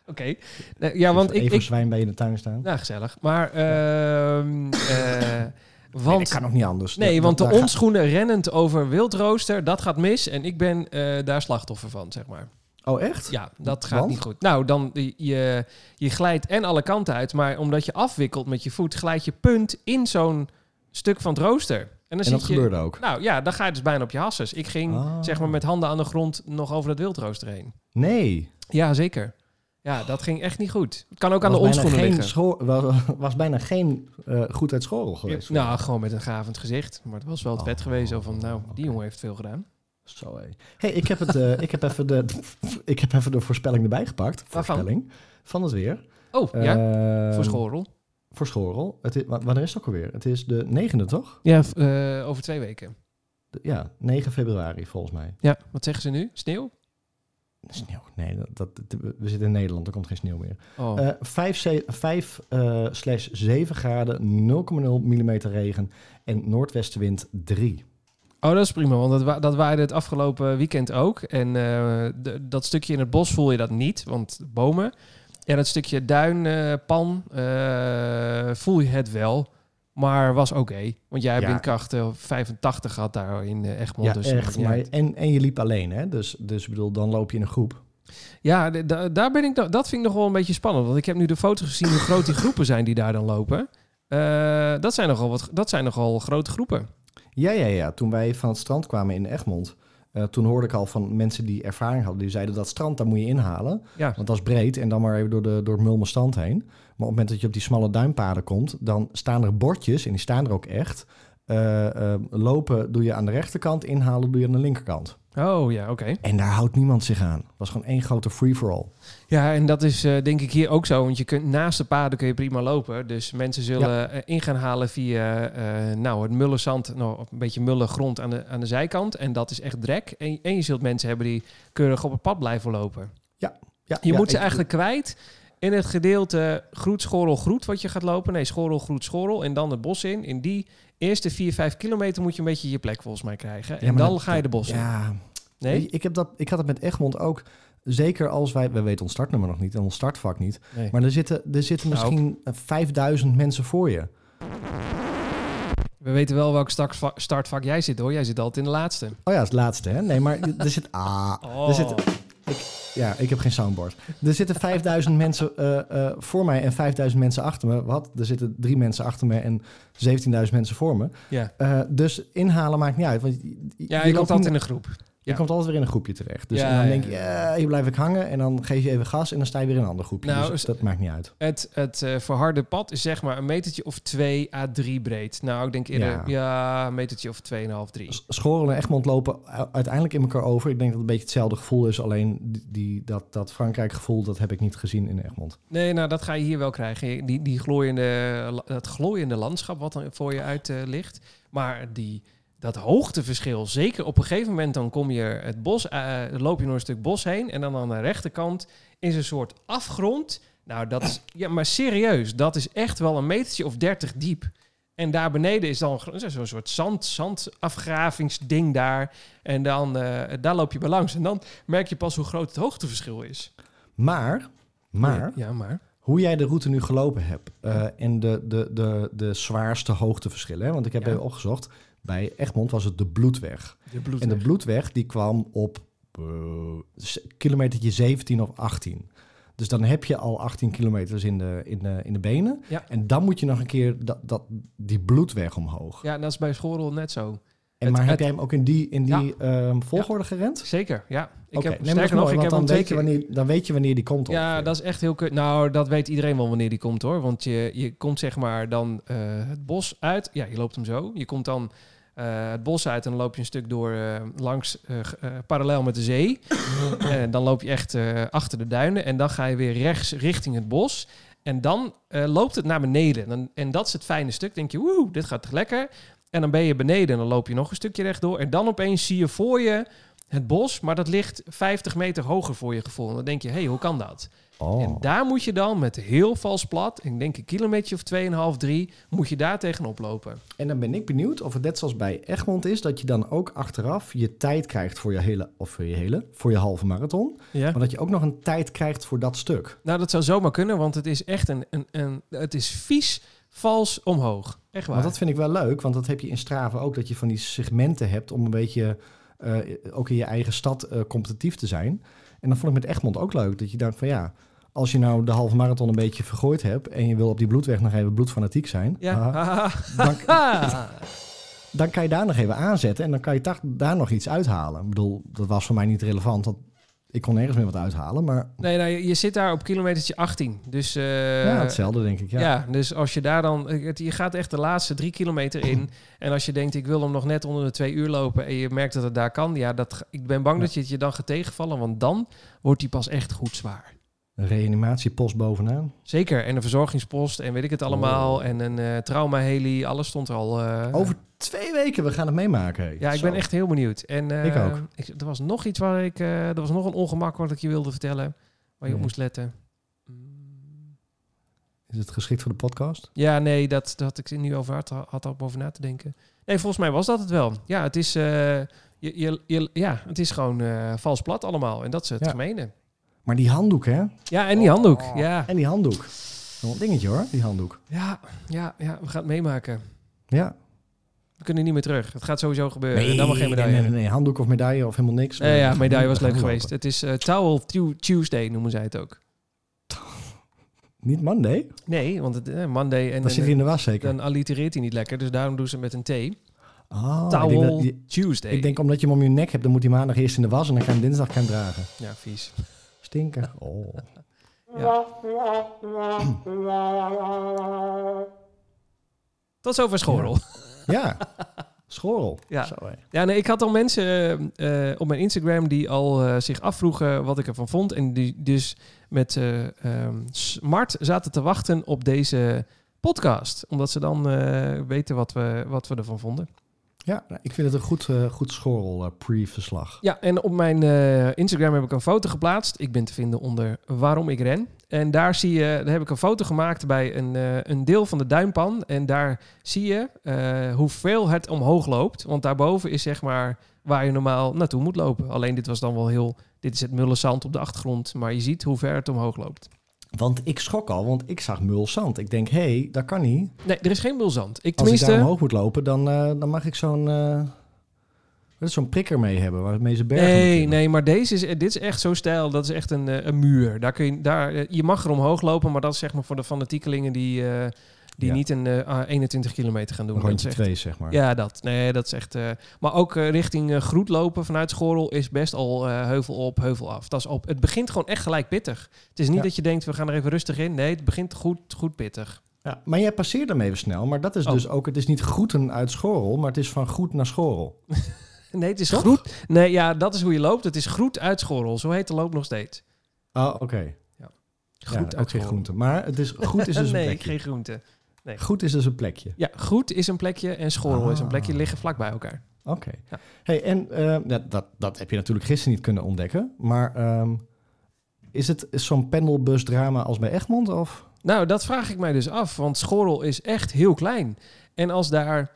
Oké. Nee, ja, want even ik... even ik zwijn bij je in de tuin staan. nou, gezellig. Maar, ehm eh, nee, dat want... kan ook niet anders. Nee, Dat- want de dat- daar ga- onschoenen rennend over wildrooster, dat gaat mis. En ik ben eh, daar slachtoffer van, zeg maar. Oh, echt? Ja, dat gaat Want? niet goed. Nou, dan eh, je, je glijdt en alle kanten uit, maar omdat je afwikkelt met je voet, glijdt je punt in zo'n stuk van het rooster. En dan en zit dat je, gebeurde ook. Nou ja, dan ga je dus bijna op je hasses. Ik ging, Ah. zeg maar, met handen aan de grond nog over dat wildrooster heen. Nee. Ja, zeker. Ja, dat ging echt niet goed. Het kan ook aan de Was bijna onschoenen geen liggen. schoor- was, was bijna geen eh, goed uit school geweest. nou, gewoon met een gavend gezicht. Maar het was wel het Oh, vet geweest. Zo van, nou, oké. die jongen heeft veel gedaan. Zo, hé. Hey, ik, heb het, eh, ik, heb even de, ik heb even de voorspelling erbij gepakt. Waarvan? Voorspelling. Van het weer. Oh, ja, Ehm, voor schoolrol. Voor Schorrel. Het is, wa- wanneer is het ook alweer? Het is de negende, toch? Ja, v- eh, over twee weken. De- ja, 9 februari volgens mij. Ja, wat zeggen ze nu? Sneeuw? Sneeuw. Nee, dat, dat- we zitten in Nederland, er komt geen sneeuw meer. Oh, Eh 5, eh, slash 7 graden, 0,0 mm regen en noordwestenwind 3. oh dat is prima, want dat, wa dat waaide het afgelopen weekend ook. En eh, de- dat stukje in het bos voel je dat niet, want bomen. En dat stukje duinpan eh, voel je het wel, maar was oké. Want jij hebt Ja. windkracht eh, 85 gehad daar in eh, Egmond. Ja, dus dat maakt echt. niet Maar, uit. en, en je liep alleen, hè? Dus, dus ik bedoel, dan loop je in een groep. Ja, d- da- daar ben ik, da- dat vind ik nog wel een beetje spannend. Want ik heb nu de foto's gezien hoe groot die groepen zijn die daar dan lopen. Eh, dat, zijn nogal wat, dat zijn nogal grote groepen. Ja, ja, ja. Toen wij van het strand kwamen in Egmond, eh, toen hoorde ik al van mensen die ervaring hadden, die zeiden dat strand, daar moet je inhalen. Ja. Want dat is breed en dan maar even door, de, door het mulmenstand heen. Maar op het moment dat je op die smalle duinpaden komt, dan staan er bordjes, en die staan er ook echt. Eh, eh, lopen doe je aan de rechterkant, inhalen doe je aan de linkerkant. Oh ja, oké. En daar houdt niemand zich aan. Het was gewoon één grote free-for-all. Ja, en dat is eh, denk ik hier ook zo. Want je kunt, naast de paden kun je prima lopen. Dus mensen zullen eh, in gaan halen via eh, nou, het mulle zand, nou, een beetje mulle grond aan de, aan de zijkant. En dat is echt drek. En, en je zult mensen hebben die keurig op het pad blijven lopen. Ja, Je ja, moet ze ik- eigenlijk kwijt in het gedeelte groet, schorrel, groet wat je gaat lopen. Nee, schorrel, groet, schorrel en dan het bos in. In die eerste 4, 5 kilometer moet je een beetje je plek volgens mij krijgen. Ja, en maar dan dat- ga je de bos in. Ja, Nee? ik, ik heb dat, ik had het met Egmond ook. Zeker als wij, we weten ons startnummer nog niet en ons startvak niet. Nee. Maar er zitten, er zitten Nou. misschien eh, 5000 mensen voor je. We weten wel welk startva- startvak jij zit hoor. Jij zit altijd in de laatste. Oh ja, het laatste, hè? Nee, maar er zit... Ah, Oh. er zit, ja, ik heb geen soundboard. Er zitten 5000 mensen eh, eh, voor mij en 5000 mensen achter me. Wat? Er zitten drie mensen achter me en 17.000 mensen voor me. Ja, Eh, dus inhalen maakt niet uit. Want je, ja je, loopt komt altijd in niet- een groep. je ja. komt altijd weer in een groepje terecht. Dus Ja, en dan ja, denk je, ja. eh, hier blijf ik hangen. En dan geef je even gas en dan sta je weer in een ander groepje. Nou, dus is- dat maakt niet uit. Het, het eh, verharde pad is zeg maar een metertje of 2 à 3 breed. Nou, ik denk eerder ja, Ja. een metertje of 2,5, 3. S- Schorl en Egmond lopen u- uiteindelijk in elkaar over. Ik denk dat het een beetje hetzelfde gevoel is. Alleen die- die, dat, dat Frankrijk gevoel, dat heb ik niet gezien in Egmond. Nee, nou dat ga je hier wel krijgen. Die, die glooiende, dat glooiende landschap wat er voor je uit eh, ligt. Maar die, dat hoogteverschil, zeker op een gegeven moment dan kom je het bos, eh, loop je door een stuk bos heen. En dan aan de rechterkant is een soort afgrond. Nou, dat is, ja, maar serieus, dat is echt wel een metertje of 30 diep. En daar beneden is dan gro- zo'n soort zand, zandafgravingsding daar. En dan, eh, daar loop je bij langs. En dan merk je pas hoe groot het hoogteverschil is. Maar, maar... Ja, maar... Hoe jij de route nu gelopen hebt eh, en de, de, de, de zwaarste hoogteverschillen. Hè? Want ik heb Ja. even opgezocht. Bij Egmond was het de Bloedweg. De bloed. En de Bloedweg die kwam op eh, s- kilometertje 17 of 18. Dus dan heb je al 18 kilometers in de, in de, in de benen. Ja. En dan moet je nog een keer dat, dat, die bloedweg omhoog. Ja, en dat is bij Schorrel net zo. En, Het- maar heb het- jij hem ook in die, in die ehm, volgorde gerend? Zeker, ja. Ik Oké, heb, nee, maar dat is sterker nog, mooi, ik heb want dan hem twee weet, je keer- wanneer, dan weet je wanneer die komt op. Ja, dat is echt heel kut. Nou, dat weet iedereen wel wanneer die komt hoor. Want je, je komt zeg maar dan eh, het bos uit. Ja, je loopt hem zo. Je komt dan eh, het bos uit en dan loop je een stuk door eh, langs, eh, g- eh, parallel met de zee. en dan loop je echt eh, achter de duinen. En dan ga je weer rechts richting het bos. En dan eh, loopt het naar beneden. En, dan- en dat is het fijne stuk. Denk je, woe, dit gaat toch lekker. En dan ben je beneden en dan loop je nog een stukje rechtdoor. En dan opeens zie je voor je het bos, maar dat ligt 50 meter hoger voor je gevoel. En dan denk je, hé, hey, hoe kan dat? Oh. En daar moet je dan met heel vals plat, ik denk een kilometer of 2,5, 3, moet je daar tegenop lopen. En dan ben ik benieuwd of het net zoals bij Egmond is, dat je dan ook achteraf je tijd krijgt voor je hele, of voor je hele, voor je halve marathon. Ja. Maar dat je ook nog een tijd krijgt voor dat stuk. Nou, dat zou zomaar kunnen, want het is echt een, een, een het is vies vals omhoog. Echt waar. Want dat vind ik wel leuk, want dat heb je in Strava ook, dat je van die segmenten hebt om een beetje eh, ook in je eigen stad eh, competitief te zijn. En dan vond ik met Egmond ook leuk, dat je dacht van ja, als je nou de halve marathon een beetje vergooid hebt en je wil op die bloedweg nog even bloedfanatiek zijn, ja. haha, dan, Ah. dan kan je daar nog even aanzetten en dan kan je daar- daar nog iets uithalen. Ik bedoel, dat was voor mij niet relevant, want ik kon nergens meer wat uithalen, maar nee, nee, je zit daar op kilometertje 18. Dus eh, ja, hetzelfde denk ik. Ja. Ja. dus als je daar dan... het- Je gaat echt de laatste drie kilometer in. En als je denkt, ik wil hem nog net onder de twee uur lopen... en je merkt dat het daar kan... Ja, dat, ik ben bang Ja. dat je het je dan gaat tegenvallen... want dan wordt die pas echt goed zwaar. Een reanimatiepost bovenaan. Zeker. En een verzorgingspost en weet ik het allemaal. En een eh trauma-heli, alles stond er al. eh, Oh. Over twee weken, we gaan het meemaken. hé. Ja, ik Zo. ben echt heel benieuwd. En, eh, Ik ook. ik- er was nog iets waar ik... eh, er was nog een ongemak wat ik je wilde vertellen... waar je op Nee. moest letten. Mm. Is het geschikt voor de podcast? Ja, nee, dat, dat ik er nu over had, had al over na te denken. Nee, volgens mij was dat het wel. Ja, het is, eh, je, je, je- ja, het is gewoon eh, vals plat allemaal. En dat is het Ja. Oh. gemene. Maar die handdoek, hè? Ja, en die handdoek. Ja, En die handdoek. Wel een dingetje hoor, die handdoek. ja, ja, ja, we gaan het meemaken. Ja. We kunnen niet meer terug. Het gaat sowieso gebeuren. en Eh, dan maar geen nee, medaille. nee, nee, nee, handdoek of medaille of helemaal niks. Nee, ja, medaille was We gaan leuk lopen. geweest. Het is eh Towel Tu- Tuesday noemen zij het ook. Niet Monday? Nee, want het eh, Monday en Dan zit hij dan, in de was zeker. dan allitereert hij niet lekker. Dus daarom doen ze met een T. Ah, ik denk dat- Towel je- Tuesday. ik denk omdat je hem om je nek hebt, dan moet hij maandag eerst in de was en dan kan je hem dinsdag gaan dragen. Ja, vies. Stinken. Oh. Tot zover Schorrel. Ja. Schorrel. Ja. Zo, hé. Ja, nee, ik had al mensen eh, eh, op mijn Instagram die al eh, zich afvroegen wat ik ervan vond. En die dus met eh, ehm, smart zaten te wachten op deze podcast. Omdat ze dan eh, weten wat we, wat we ervan vonden. Ja, nou, ik vind het een goed, eh, goed schorrel eh, pre-verslag. Ja, en op mijn eh, Instagram heb ik een foto geplaatst. Ik ben te vinden onder waarom ik ren. En daar zie je, daar heb ik een foto gemaakt bij een, eh, een deel van de duimpan. En daar zie je eh, hoeveel het omhoog loopt. Want daarboven is zeg maar waar je normaal naartoe moet lopen. Alleen dit was dan wel heel, dit is het mullenzand op de achtergrond. Maar je ziet hoe ver het omhoog loopt. Want ik schrok al, want ik zag mulzand. Ik denk, hé, hey, dat kan niet. Nee, er is geen mulzand. Ik Als ik daar tenminste... omhoog moet lopen, dan, eh, dan mag ik zo'n... eh, wat is zo'n prikker mee hebben, waarmee ze bergen Nee, beklimmen. nee, maar deze is, dit is echt zo stijl. Dat is echt een, eh, een muur. Daar kun je, daar, eh, je mag er omhoog lopen, maar dat is zeg maar voor de fanatiekelingen die, eh, die Ja. niet een eh, ah, 21 kilometer gaan doen. Dat is Rondje echt- twee, zeg maar. Ja, dat. Nee, dat is echt. eh, maar ook eh, richting eh, Groet lopen vanuit Schorrel is best al eh, heuvel op, heuvel af. Dat is op. Het begint gewoon echt gelijk pittig. Het is niet Ja. dat je denkt, we gaan er even rustig in. Nee, het begint goed, goed pittig. Ja, maar jij passeert hem even snel. Maar dat is Oh. dus ook... Het is niet groeten uit schorrel, maar het is van goed naar schorrel. Nee, het is Toch? groet. Nee, ja, dat is hoe je loopt. Het is groet uit Schorrel. Zo heet de loop nog steeds. Ah, oké. Ja, Oh, Groet ook uit geen Schorrel. groente. Maar het is, goed is dus een nee, plekje. geen groente. Goed is dus een plekje. Ja, groet is een plekje en schorrel is een Ah. plekje. Liggen vlak bij elkaar. Oké. Ja. Hey, en eh, dat, dat, dat heb je natuurlijk gisteren niet kunnen ontdekken. Maar ehm, is het is zo'n pendelbusdrama als bij Egmond? Of? Nou, dat vraag ik mij dus af, want schorrel is echt heel klein. En als daar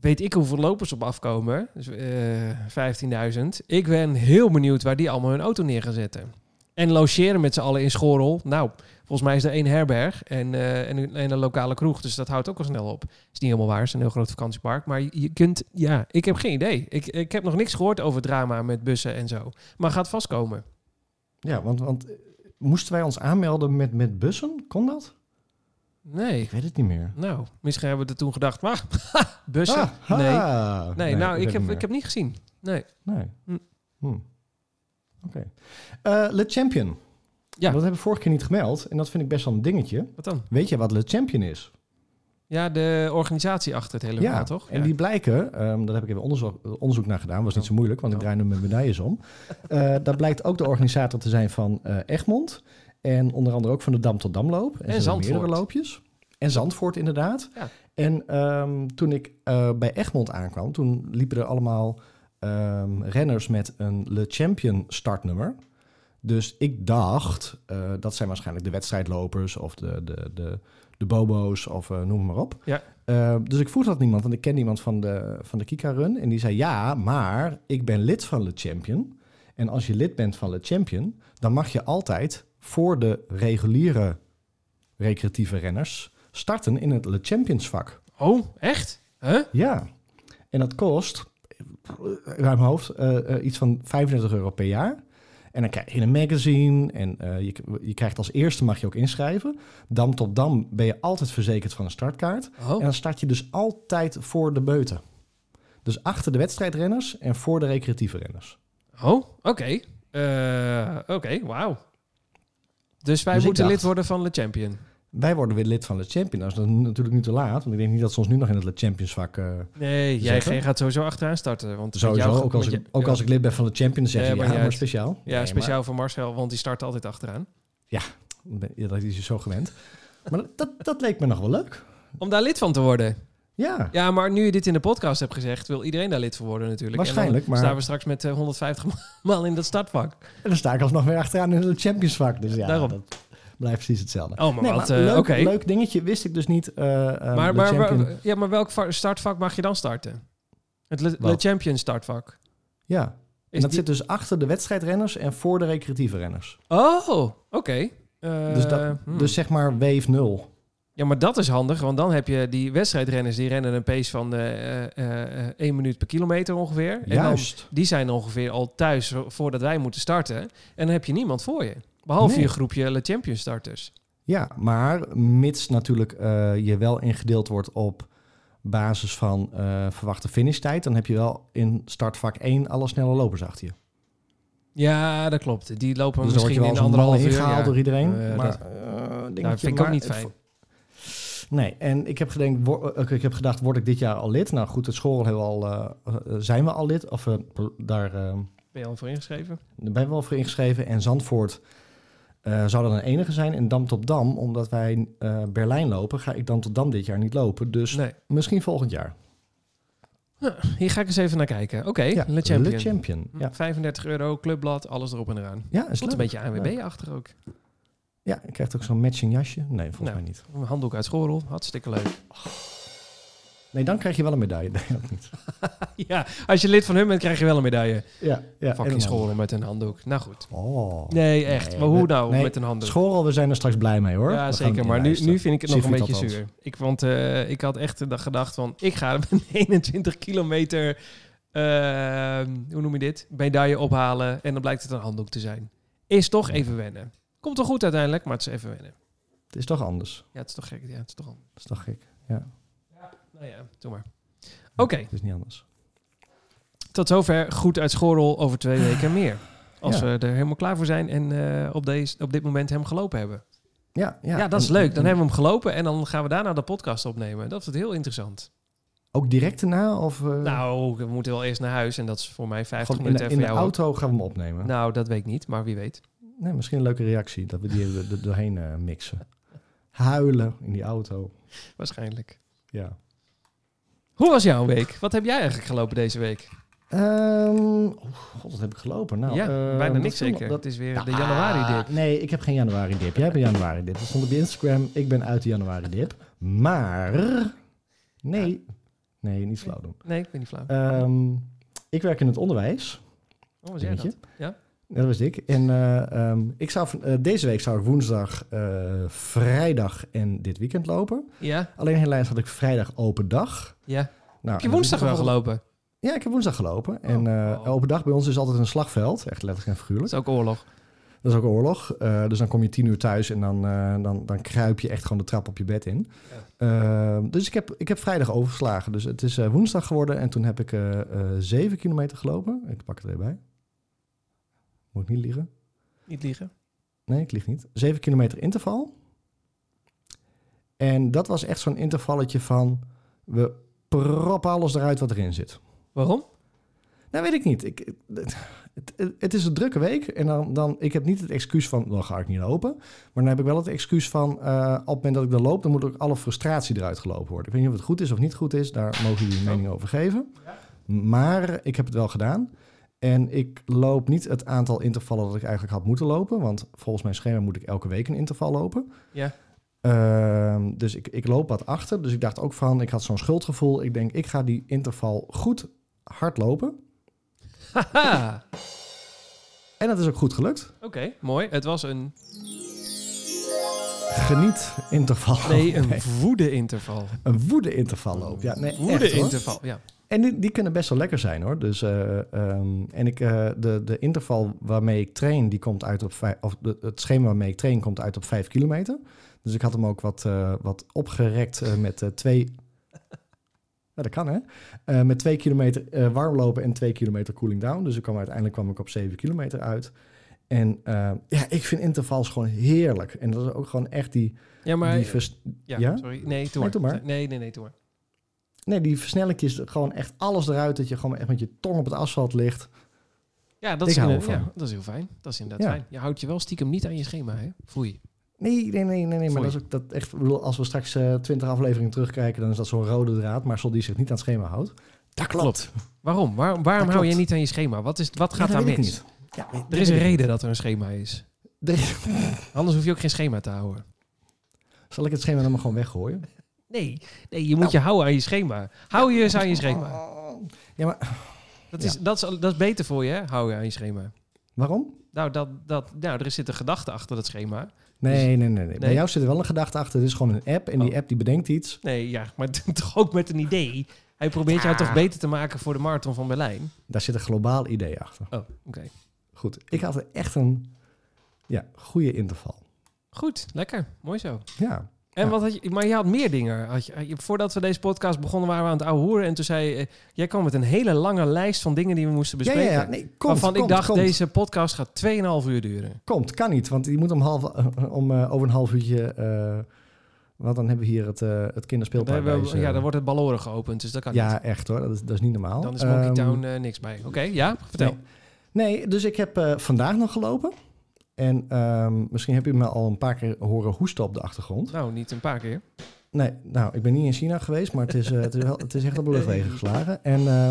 weet ik hoeveel lopers op afkomen, dus eh 15.000. Ik ben heel benieuwd waar die allemaal hun auto neer gaan zetten. En logeren met z'n allen in schorrel. Nou, Volgens mij is er één herberg en, eh, en, een- en een lokale kroeg. Dus dat houdt ook al snel op. Is niet helemaal waar. Het is een heel groot vakantiepark. Maar je- je kunt, ja, ik heb geen idee. Ik, ik heb nog niks gehoord over drama met bussen en zo. Maar gaat vastkomen. Ja, want, want eh, moesten wij ons aanmelden met, met bussen? Kon dat? Nee. Ik weet het niet meer. Nou, misschien hebben we er toen gedacht. Maar bussen. Ah, ha. Nee. Nee, Nee, nou, ik weet heb, het ik heb niet gezien. Nee. niet meer. Nee. Hm. Hm. Oké. Eh, Le Champion. Ja. Dat hebben we vorige keer niet gemeld. En dat vind ik best wel een dingetje. Wat dan? Weet je wat Le Champion is? Ja, de organisatie achter het hele verhaal, toch? En Ja. die blijken, ehm, daar heb ik even onderzoek, onderzoek naar gedaan, was niet zo moeilijk, want ik Oh. draai nu mijn medailles om. Eh daar blijkt ook de organisator te zijn van eh, Egmond. En onder andere ook van de Dam tot Damloop. En, zo zijn er Zandvoort. meerdere loopjes. En Zandvoort inderdaad. Ja. En ehm, toen ik eh, bij Egmond aankwam, toen liepen er allemaal ehm, renners met een Le Champion startnummer. Dus ik dacht, eh, dat zijn waarschijnlijk de wedstrijdlopers of de, de, de, de bobo's of eh, noem maar op. Ja. Eh, dus ik vroeg dat niemand, want ik ken iemand van de, van de Kika Run. En die zei, ja, maar ik ben lid van Le Champion. En als je lid bent van Le Champion, dan mag je altijd voor de reguliere recreatieve renners starten in het Le Champions vak. Oh, echt? Huh? Ja. En dat kost, eh, uit mijn hoofd, eh, eh, iets van 35 euro per jaar. En dan krijg je een magazine en eh, je, je krijgt als eerste mag je ook inschrijven. Dam tot dam ben je altijd verzekerd van een startkaart. En Oh. dan start je dus altijd voor de beuten. Dus achter de wedstrijdrenners en voor de recreatieve renners. Oh, oké. Eh, oké, wauw. Dus wij Dus ik moeten dacht- lid worden van Le Champion. Wij worden weer lid van de Champions. Dat is natuurlijk nu te laat, want ik denk niet dat ze ons nu nog in het Le Champions vak... eh, Nee, jij Zeggen? jij gaat sowieso achteraan starten. Want met sowieso, jou- ook als, met ik, je- ook ja. als ik lid ben van de Champions, zeg Ja, je maar ja, niet maar uit. speciaal. Nee, Ja, maar- speciaal voor Marcel, want die start altijd achteraan. Ja, dat is je zo gewend. Maar dat, dat leek me nog wel leuk. Om daar lid van te worden. Ja. Ja, maar nu je dit in de podcast hebt gezegd, wil iedereen daar lid van worden natuurlijk. Waarschijnlijk, en dan maar- staan we straks met eh, 150 man in dat startvak. Oh, En dan sta ik alsnog weer achteraan in het Champions vak. Dus ja, Daarom. dat blijft precies hetzelfde. Oh, maar Nee, wat, maar eh, leuk, oké. leuk dingetje, wist ik dus niet. eh, eh, Maar, de maar, Champion- maar- ja, maar welk va- startvak mag je dan starten? Het Le, Le Wat? Champion startvak. ja, en Is dat die- zit dus achter de wedstrijdrenners en voor de recreatieve renners. Oh, oké. Eh, dus, dat, hmm. dus zeg maar wave 0. Ja, maar dat is handig, want dan heb je die wedstrijdrenners die rennen een pace van eh eh, eh, eh, 1 minuut per kilometer ongeveer. En dan, Juist. die zijn ongeveer al thuis vo- voordat wij moeten starten. En dan heb je niemand voor je. Behalve Nee. je groepje Le Champion starters. Ja, maar mits natuurlijk eh, je wel ingedeeld wordt op basis van eh, verwachte finishtijd, dan heb je wel in startvak 1 alle snelle lopers achter je. Ja, dat klopt. Die lopen Dus dan misschien word je wel in als de een bal anderhalf uur. ingehaald Ja. door iedereen. Eh, maar, dat- eh, dingetje, Nou, dat vind ik maar ook niet het fijn. Nee, en ik heb, gedenkt, wo- eh, ik heb gedacht, word ik dit jaar al lid? Nou goed, het school hebben we al, eh, eh, zijn we al lid. Of eh, daar eh, Ben je al voor ingeschreven? daar ben we al voor ingeschreven. En Zandvoort eh, zou dan een enige zijn. En Dam tot Dam, omdat wij eh, Berlijn lopen, ga ik Dam tot Dam dit jaar niet lopen. Dus Nee. misschien volgend jaar. Hier ga ik eens even naar kijken. Oké, Ja, Le Champion. Le Champion. Ja, 35 euro, clubblad, alles erop en eraan. ja is Tot een leuk. beetje ANWB achter ook. Ja, je krijgt ook zo'n matching jasje. Nee, volgens Nou. mij niet. Een handdoek uit Schorl, hartstikke leuk. Nee, dan krijg je wel een medaille. Nee, dat niet. ja, als je lid van hun bent, krijg je wel een medaille. Ja, ja. en Fucking een Schorl met een handdoek. Nou goed. Oh. Nee, echt. Nee, maar hoe we- nou nee, met een handdoek? Schorrel, we zijn er straks blij mee hoor. We Ja, gaan zeker. Maar nu, inlijsten. nu vind ik het nog een Sigrid beetje althans. zuur. Ik, want eh, ik had echt de gedacht van... Ik ga een 21 kilometer... ehm, hoe noem je dit? Medaille ophalen. En dan blijkt het een handdoek te zijn. Is toch even wennen. Komt wel goed uiteindelijk, maar het is even wennen. Het is toch anders. Ja, het is toch gek. Ja, het is toch... al- Dat is toch gek. Nou ja, doe maar. Oké, Het is niet anders. tot zover. Goed uit Schorrel over twee weken meer. Als Ja. we er helemaal klaar voor zijn en eh, op, deze, op dit moment hem gelopen hebben. Ja, ja. Ja, dat is En- leuk. Dan en hebben we hem gelopen en dan gaan we daarna de podcast opnemen. Dat wordt heel interessant. Ook direct daarna? Of, eh, Nou, we moeten wel eerst naar huis en dat is voor mij 50 gewoon in de, minuten. in en de voor jou ook. auto gaan we hem opnemen. Nou, dat weet ik niet, maar wie weet. Nee, misschien een leuke reactie. Dat we die er er doorheen eh, mixen. Huilen in die auto. Waarschijnlijk. Ja. Hoe was jouw week? Wat heb jij eigenlijk gelopen deze week? Ehm, oh, god, wat heb ik gelopen? Nou, ja, ehm, bijna dat niks viel me- zeker. dat- Dat is weer de januari Ah, dip. Nee, ik heb geen januari dip. Jij hebt een januari dip. Dat stond op je Instagram. Ik ben uit de januari dip. Maar... Nee. Nee, niet flauw doen. Nee, ik ben niet flauw. Ehm, ik werk in het onderwijs. Hoe was jij weet je. dat? Ja? Ja, dat was ik. En eh, ehm, ik zou, van- eh, deze week zou ik woensdag, eh, vrijdag en dit weekend lopen. Ja, Alleen helaas had ik vrijdag open dag. ja. Nou, Heb je woensdag wel gelopen? Ja, ik heb woensdag gelopen. En eh, Oh. open dag bij ons is altijd een slagveld. Echt letterlijk en Dat figuurlijk. is ook oorlog. Dat is ook oorlog. Eh, dus dan kom je tien uur thuis en dan, eh, dan, dan kruip je echt gewoon de trap op je bed in. Eh, dus ik heb, ik heb vrijdag overgeslagen. Dus het is eh, woensdag geworden en toen heb ik eh, eh, zeven kilometer gelopen. Ik pak het er even bij. Moet ik niet liegen. Niet liegen. Nee, ik lieg niet. 7 kilometer interval. En dat was echt zo'n intervalletje van... we proppen alles eruit wat erin zit. Waarom? Nou, weet ik niet. Ik, het, het, het is een drukke week. En dan, dan, ik heb niet het excuus van... dan ga ik niet lopen. Maar dan heb ik wel het excuus van... eh, op het moment dat ik dan loop... dan moet ook alle frustratie eruit gelopen worden. Ik weet niet of het goed is of niet goed is. Daar mogen jullie een mening over geven. Maar ik heb het wel gedaan. En ik loop niet het aantal intervallen dat ik eigenlijk had moeten lopen. Want volgens mijn schema moet ik elke week een interval lopen. Ja. Ehm, dus ik, ik loop wat achter. Dus ik dacht ook van, ik had zo'n schuldgevoel. Ik denk, ik ga die interval goed hard lopen. Haha. En dat is ook goed gelukt. Oké, mooi. Het was een, Geniet interval. nee, een woede interval. Een woede interval loop. Oh, Ja, nee, Woede echt, hoor. interval, ja. En die, die kunnen best wel lekker zijn hoor. Dus, eh, ehm, en ik, eh, de, de interval waarmee ik train, die komt uit op vijf, of de, het schema waarmee ik train komt uit op vijf kilometer. Dus ik had hem ook wat, eh, wat opgerekt eh, met eh, twee. Ja, dat kan hè. Eh, met twee kilometer eh, warm lopen en twee kilometer cooling down. Dus ik kwam, uiteindelijk kwam ik op zeven kilometer uit. En eh, ja, ik vind intervals gewoon heerlijk. En dat is ook gewoon echt die. Ja, maar... die vers- ja, ja? sorry. Nee, toe Nee, maar. doe maar. Nee, nee, nee, toe maar. nee, die versnellingjes, gewoon echt alles eruit. Dat je gewoon echt met je tong op het asfalt ligt. Ja, dat Ik is, hou een- ervan. ja, dat is heel fijn. Dat is inderdaad Ja. fijn. Je houdt je wel stiekem niet aan je schema, hè? Foei. Nee, nee, nee, nee, nee maar Sorry. dat is ook dat echt. ik bedoel, als we straks eh, twintig afleveringen terugkijken, dan is dat zo'n rode draad. Maar die zich niet aan het schema houdt. Dat klopt. Waarom? Waar- waarom Dat hou klopt. je niet aan je schema? Wat, is, wat gaat Ja, dat daar weet ik mis? niet. Ja, nee, Er dat is een weet ik reden dat er een schema is. niet. Er- Anders hoef je ook geen schema te houden. Zal ik het schema dan maar gewoon weggooien? Nee, nee je moet Nou. je houden aan je schema. Hou je eens aan je schema. Oh. Ja, maar Dat is, dat, is, dat is beter voor je, hè? hou je aan je schema. waarom? Nou, dat, dat, nou er zit een gedachte achter dat schema. Nee, nee, nee, nee, Bij Dus- Nee. jou zit er wel een gedachte achter. Het is gewoon een app en die Oh. app die bedenkt iets. Nee, ja, maar toch ook met een idee. Hij probeert jou Ja. toch beter te maken voor de marathon van Berlijn. Daar zit een globaal idee achter. Oh, oké. Goed, ik had er echt een ja, goede interval. Goed, lekker. Mooi zo. Ja, En Ja. wat had je, maar je had meer dingen. Had je, had je- voordat we deze podcast begonnen waren we aan het ouwe hoeren. En toen zei je, eh, jij kwam met een hele lange lijst van dingen die we moesten ja, bespreken. ja, ja. Nee, komt, waarvan komt, ik dacht, komt. deze podcast gaat 2,5 uur duren. Komt, kan niet, want die moet om, half, om eh, over een half uurtje. eh want dan hebben we hier het, eh het Daar kinderspeelpark. hebben we- bij ze. ja, dan wordt het balloren geopend, dus dat kan niet. ja echt hoor, dat is, dat is niet normaal. Dan is Monkey Ehm, Town eh, niks bij. Oké, ja, vertel. nee. Nee, dus ik heb eh, vandaag nog gelopen. En ehm, misschien heb je me al een paar keer horen hoesten op de achtergrond. Nou, niet een paar keer. Nee, nou, ik ben niet in China geweest, maar het is, eh, het is, wel, het is echt op de luchtwegen geslagen. En, eh,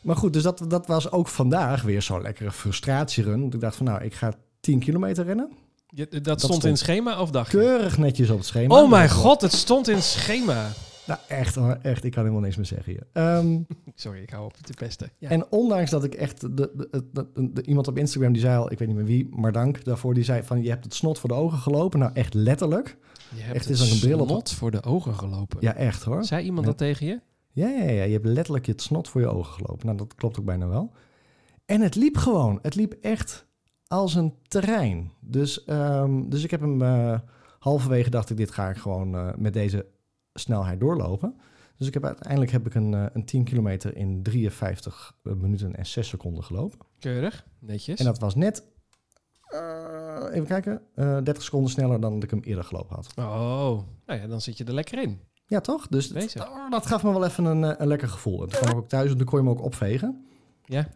maar goed, dus dat, dat was ook vandaag weer zo'n lekkere frustratierun. Want Ik dacht van, nou, ik ga 10 kilometer rennen. Je- eh, dat, stond in stond. het schema of dacht je? Keurig netjes op het schema. Dus Oh mijn Dat- god, het stond in het schema. Nou, echt hoor, echt. Ik kan helemaal niks meer zeggen hier. Ehm, Sorry, ik hou op te pesten. Ja. En ondanks dat ik echt... De, de, de- de- de- iemand op Instagram die zei al, ik weet niet meer wie, maar dank daarvoor. Die zei van, je hebt het snot voor de ogen gelopen. Nou, echt letterlijk. je hebt echt het is als een bril op. snot voor de ogen gelopen. Ja, echt hoor. Zei iemand Ja. dat tegen je? Ja, ja, ja. Je hebt letterlijk je het snot voor je ogen gelopen. Nou, dat klopt ook bijna wel. En het liep gewoon. Het liep echt als een terrein. Dus, ehm, dus ik heb hem eh, halverwege dacht ik, dit ga ik gewoon eh, met deze snelheid doorlopen. Dus ik heb, uiteindelijk heb ik een, eh, een 10 kilometer in 53 minuten en 6 seconden gelopen. Keurig, netjes. En dat was net, eh, even kijken, eh 30 seconden sneller dan dat ik hem eerder gelopen had. Oh, nou ja, dan zit je er lekker in. Ja, toch? Dus dat, Bezig. oh, dat gaf me wel even een, eh, een lekker gevoel. En toen kwam ik ook thuis en toen kon je hem ook opvegen. Ja,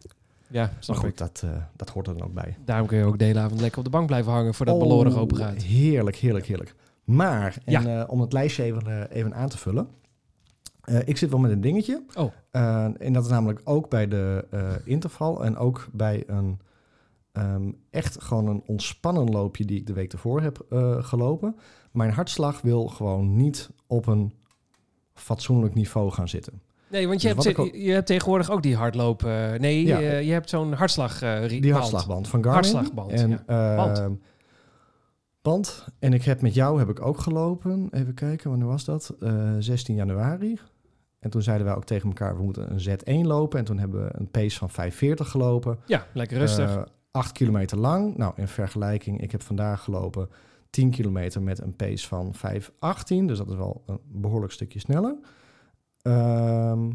snap Maar ik. goed, dat, eh, dat hoort er dan ook bij. Daarom kun je ook de hele avond lekker op de bank blijven hangen voordat Oh, Ballorig open gaat. Heerlijk, heerlijk, heerlijk. Maar, en, eh, om het lijstje even, eh, even aan te vullen. eh, ik zit wel met een dingetje. Oh. Eh, en dat is namelijk ook bij de eh, interval en ook bij een ehm, echt gewoon een ontspannen loopje die ik de week ervoor heb eh, gelopen. Mijn hartslag wil gewoon niet op een fatsoenlijk niveau gaan zitten. Nee, want je, Dus hebt, wat ik je hebt tegenwoordig ook die hardloop... eh, nee, Ja. eh, je hebt zo'n hartslag... eh, ri- Die band. hartslagband van Garmin. Hartslagband, en, ja. eh, Band. band. En ik heb met jou heb ik ook gelopen. Even kijken, wanneer was dat? Eh, 16 januari. En toen zeiden wij ook tegen elkaar, we moeten een Z1 lopen. En toen hebben we een pace van 540 gelopen. Ja, lekker rustig. Eh, acht kilometer lang. Nou, in vergelijking, ik heb vandaag gelopen 10 kilometer met een pace van 5,18. Dus dat is wel een behoorlijk stukje sneller. Ehm,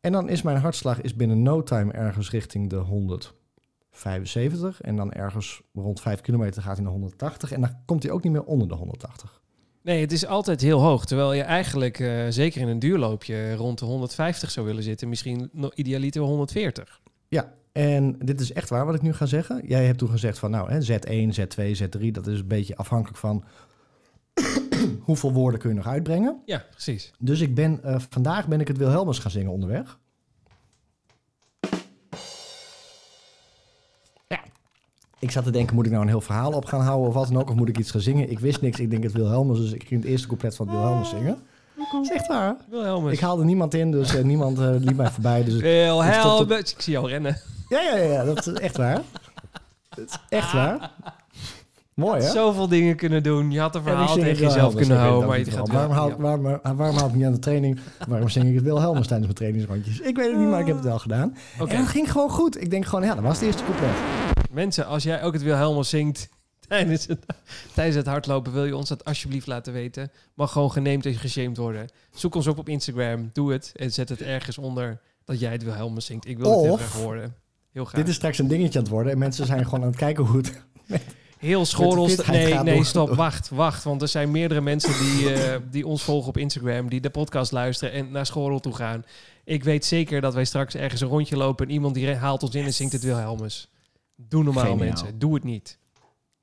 en dan is mijn hartslag is binnen no time ergens richting de 175. En dan ergens rond 5 kilometer gaat hij naar 180. En dan komt hij ook niet meer onder de 180. Nee, het is altijd heel hoog. Terwijl je eigenlijk, eh, zeker in een duurloopje, rond de 150 zou willen zitten. Misschien nog idealiter 140. En dit is echt waar wat ik nu ga zeggen. Jij hebt toen gezegd van nou, hè, Z1, Z2, Z3. Dat is een beetje afhankelijk van hoeveel woorden kun je nog uitbrengen. Ja, precies. Dus ik ben, eh, vandaag ben ik het Wilhelmus gaan zingen onderweg. Ja. Ik zat te denken, moet ik nou een heel verhaal op gaan houden of wat dan ook? Of moet ik iets gaan zingen? Ik wist niks, ik denk het Wilhelmus, dus ik ging het eerste couplet van het Wilhelmus zingen. Dat is echt waar. Wilhelmus. Ik haalde niemand in, dus eh, niemand eh, liep mij voorbij. Dus het- Wilhelmus. Ik, zie jou rennen. ja, ja, ja, dat is echt waar. Dat is echt waar. Mooi, hè? Zoveel dingen kunnen doen. Je had een En ik verhaal zing het tegen jezelf Wilhelmus, kunnen ik weet houden. het Maar ook je niet gaat waarom, haal, Ja. waarom, ah, waarom haal ik niet aan de training? Waarom zing ik het Wilhelmus tijdens mijn trainingsrondjes? Ik weet het niet, maar ik heb het wel gedaan. Oké. En dat ging gewoon goed. Ik denk gewoon, ja, dat was het eerste couplet. Mensen, als jij ook het Wilhelmus zingt tijdens het, tijdens het hardlopen, wil je ons dat alsjeblieft laten weten. Mag gewoon geneemd en geshamed worden. Zoek ons op op Instagram. Doe het en zet het ergens onder dat jij het Wilhelmus zingt. Ik wil het heel Of- graag horen. Heel graag. Dit is straks een dingetje aan het worden. En mensen zijn gewoon aan het kijken hoe het... Heel schorrels. fitheid Nee, gaat nee, door. stop. Wacht, wacht. Want er zijn meerdere mensen die, eh, die ons volgen op Instagram, die de podcast luisteren en naar Schorrel toe gaan. Ik weet zeker dat wij straks ergens een rondje lopen en iemand die re- haalt ons in en zingt het Wilhelmus. Doe normaal, Geniaal. mensen. Doe het niet.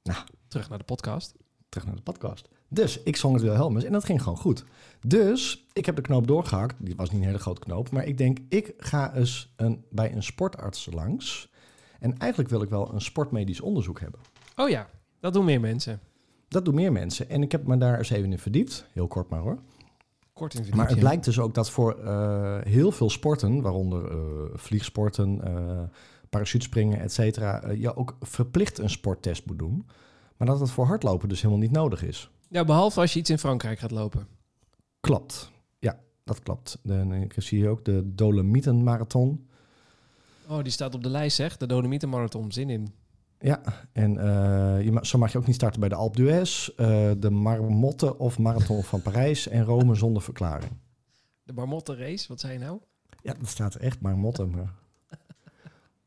Nou. Terug naar de podcast. Terug naar de podcast. Dus ik zong het Wilhelmus en dat ging gewoon goed. Dus ik heb de knoop doorgehakt. Die was niet een hele grote knoop. Maar ik denk, ik ga eens een, bij een sportarts langs. En eigenlijk wil ik wel een sportmedisch onderzoek hebben. Oh ja, dat doen meer mensen. Dat doen meer mensen. En ik heb me daar eens even in verdiept. Heel kort maar hoor. Kort in Maar het verdieping. blijkt dus ook dat voor eh, heel veel sporten, waaronder eh, vliegsporten, eh parachutespringen, et cetera, eh, je ook verplicht een sporttest moet doen. Maar dat dat voor hardlopen dus helemaal niet nodig is. Ja, behalve als je iets in Frankrijk gaat lopen. Klopt. Ja, dat klopt. En ik zie hier ook de Dolomietenmarathon. Oh, die staat op de lijst, zeg. De Dolomietenmarathon. Zin in. Ja, en eh, je ma- zo mag je ook niet starten bij de Alpe d'Huez, eh, de Marmotte of Marathon van Parijs en Rome zonder verklaring. De Marmotte Race. Wat zei je nou? Ja, dat staat echt Marmotte, maar...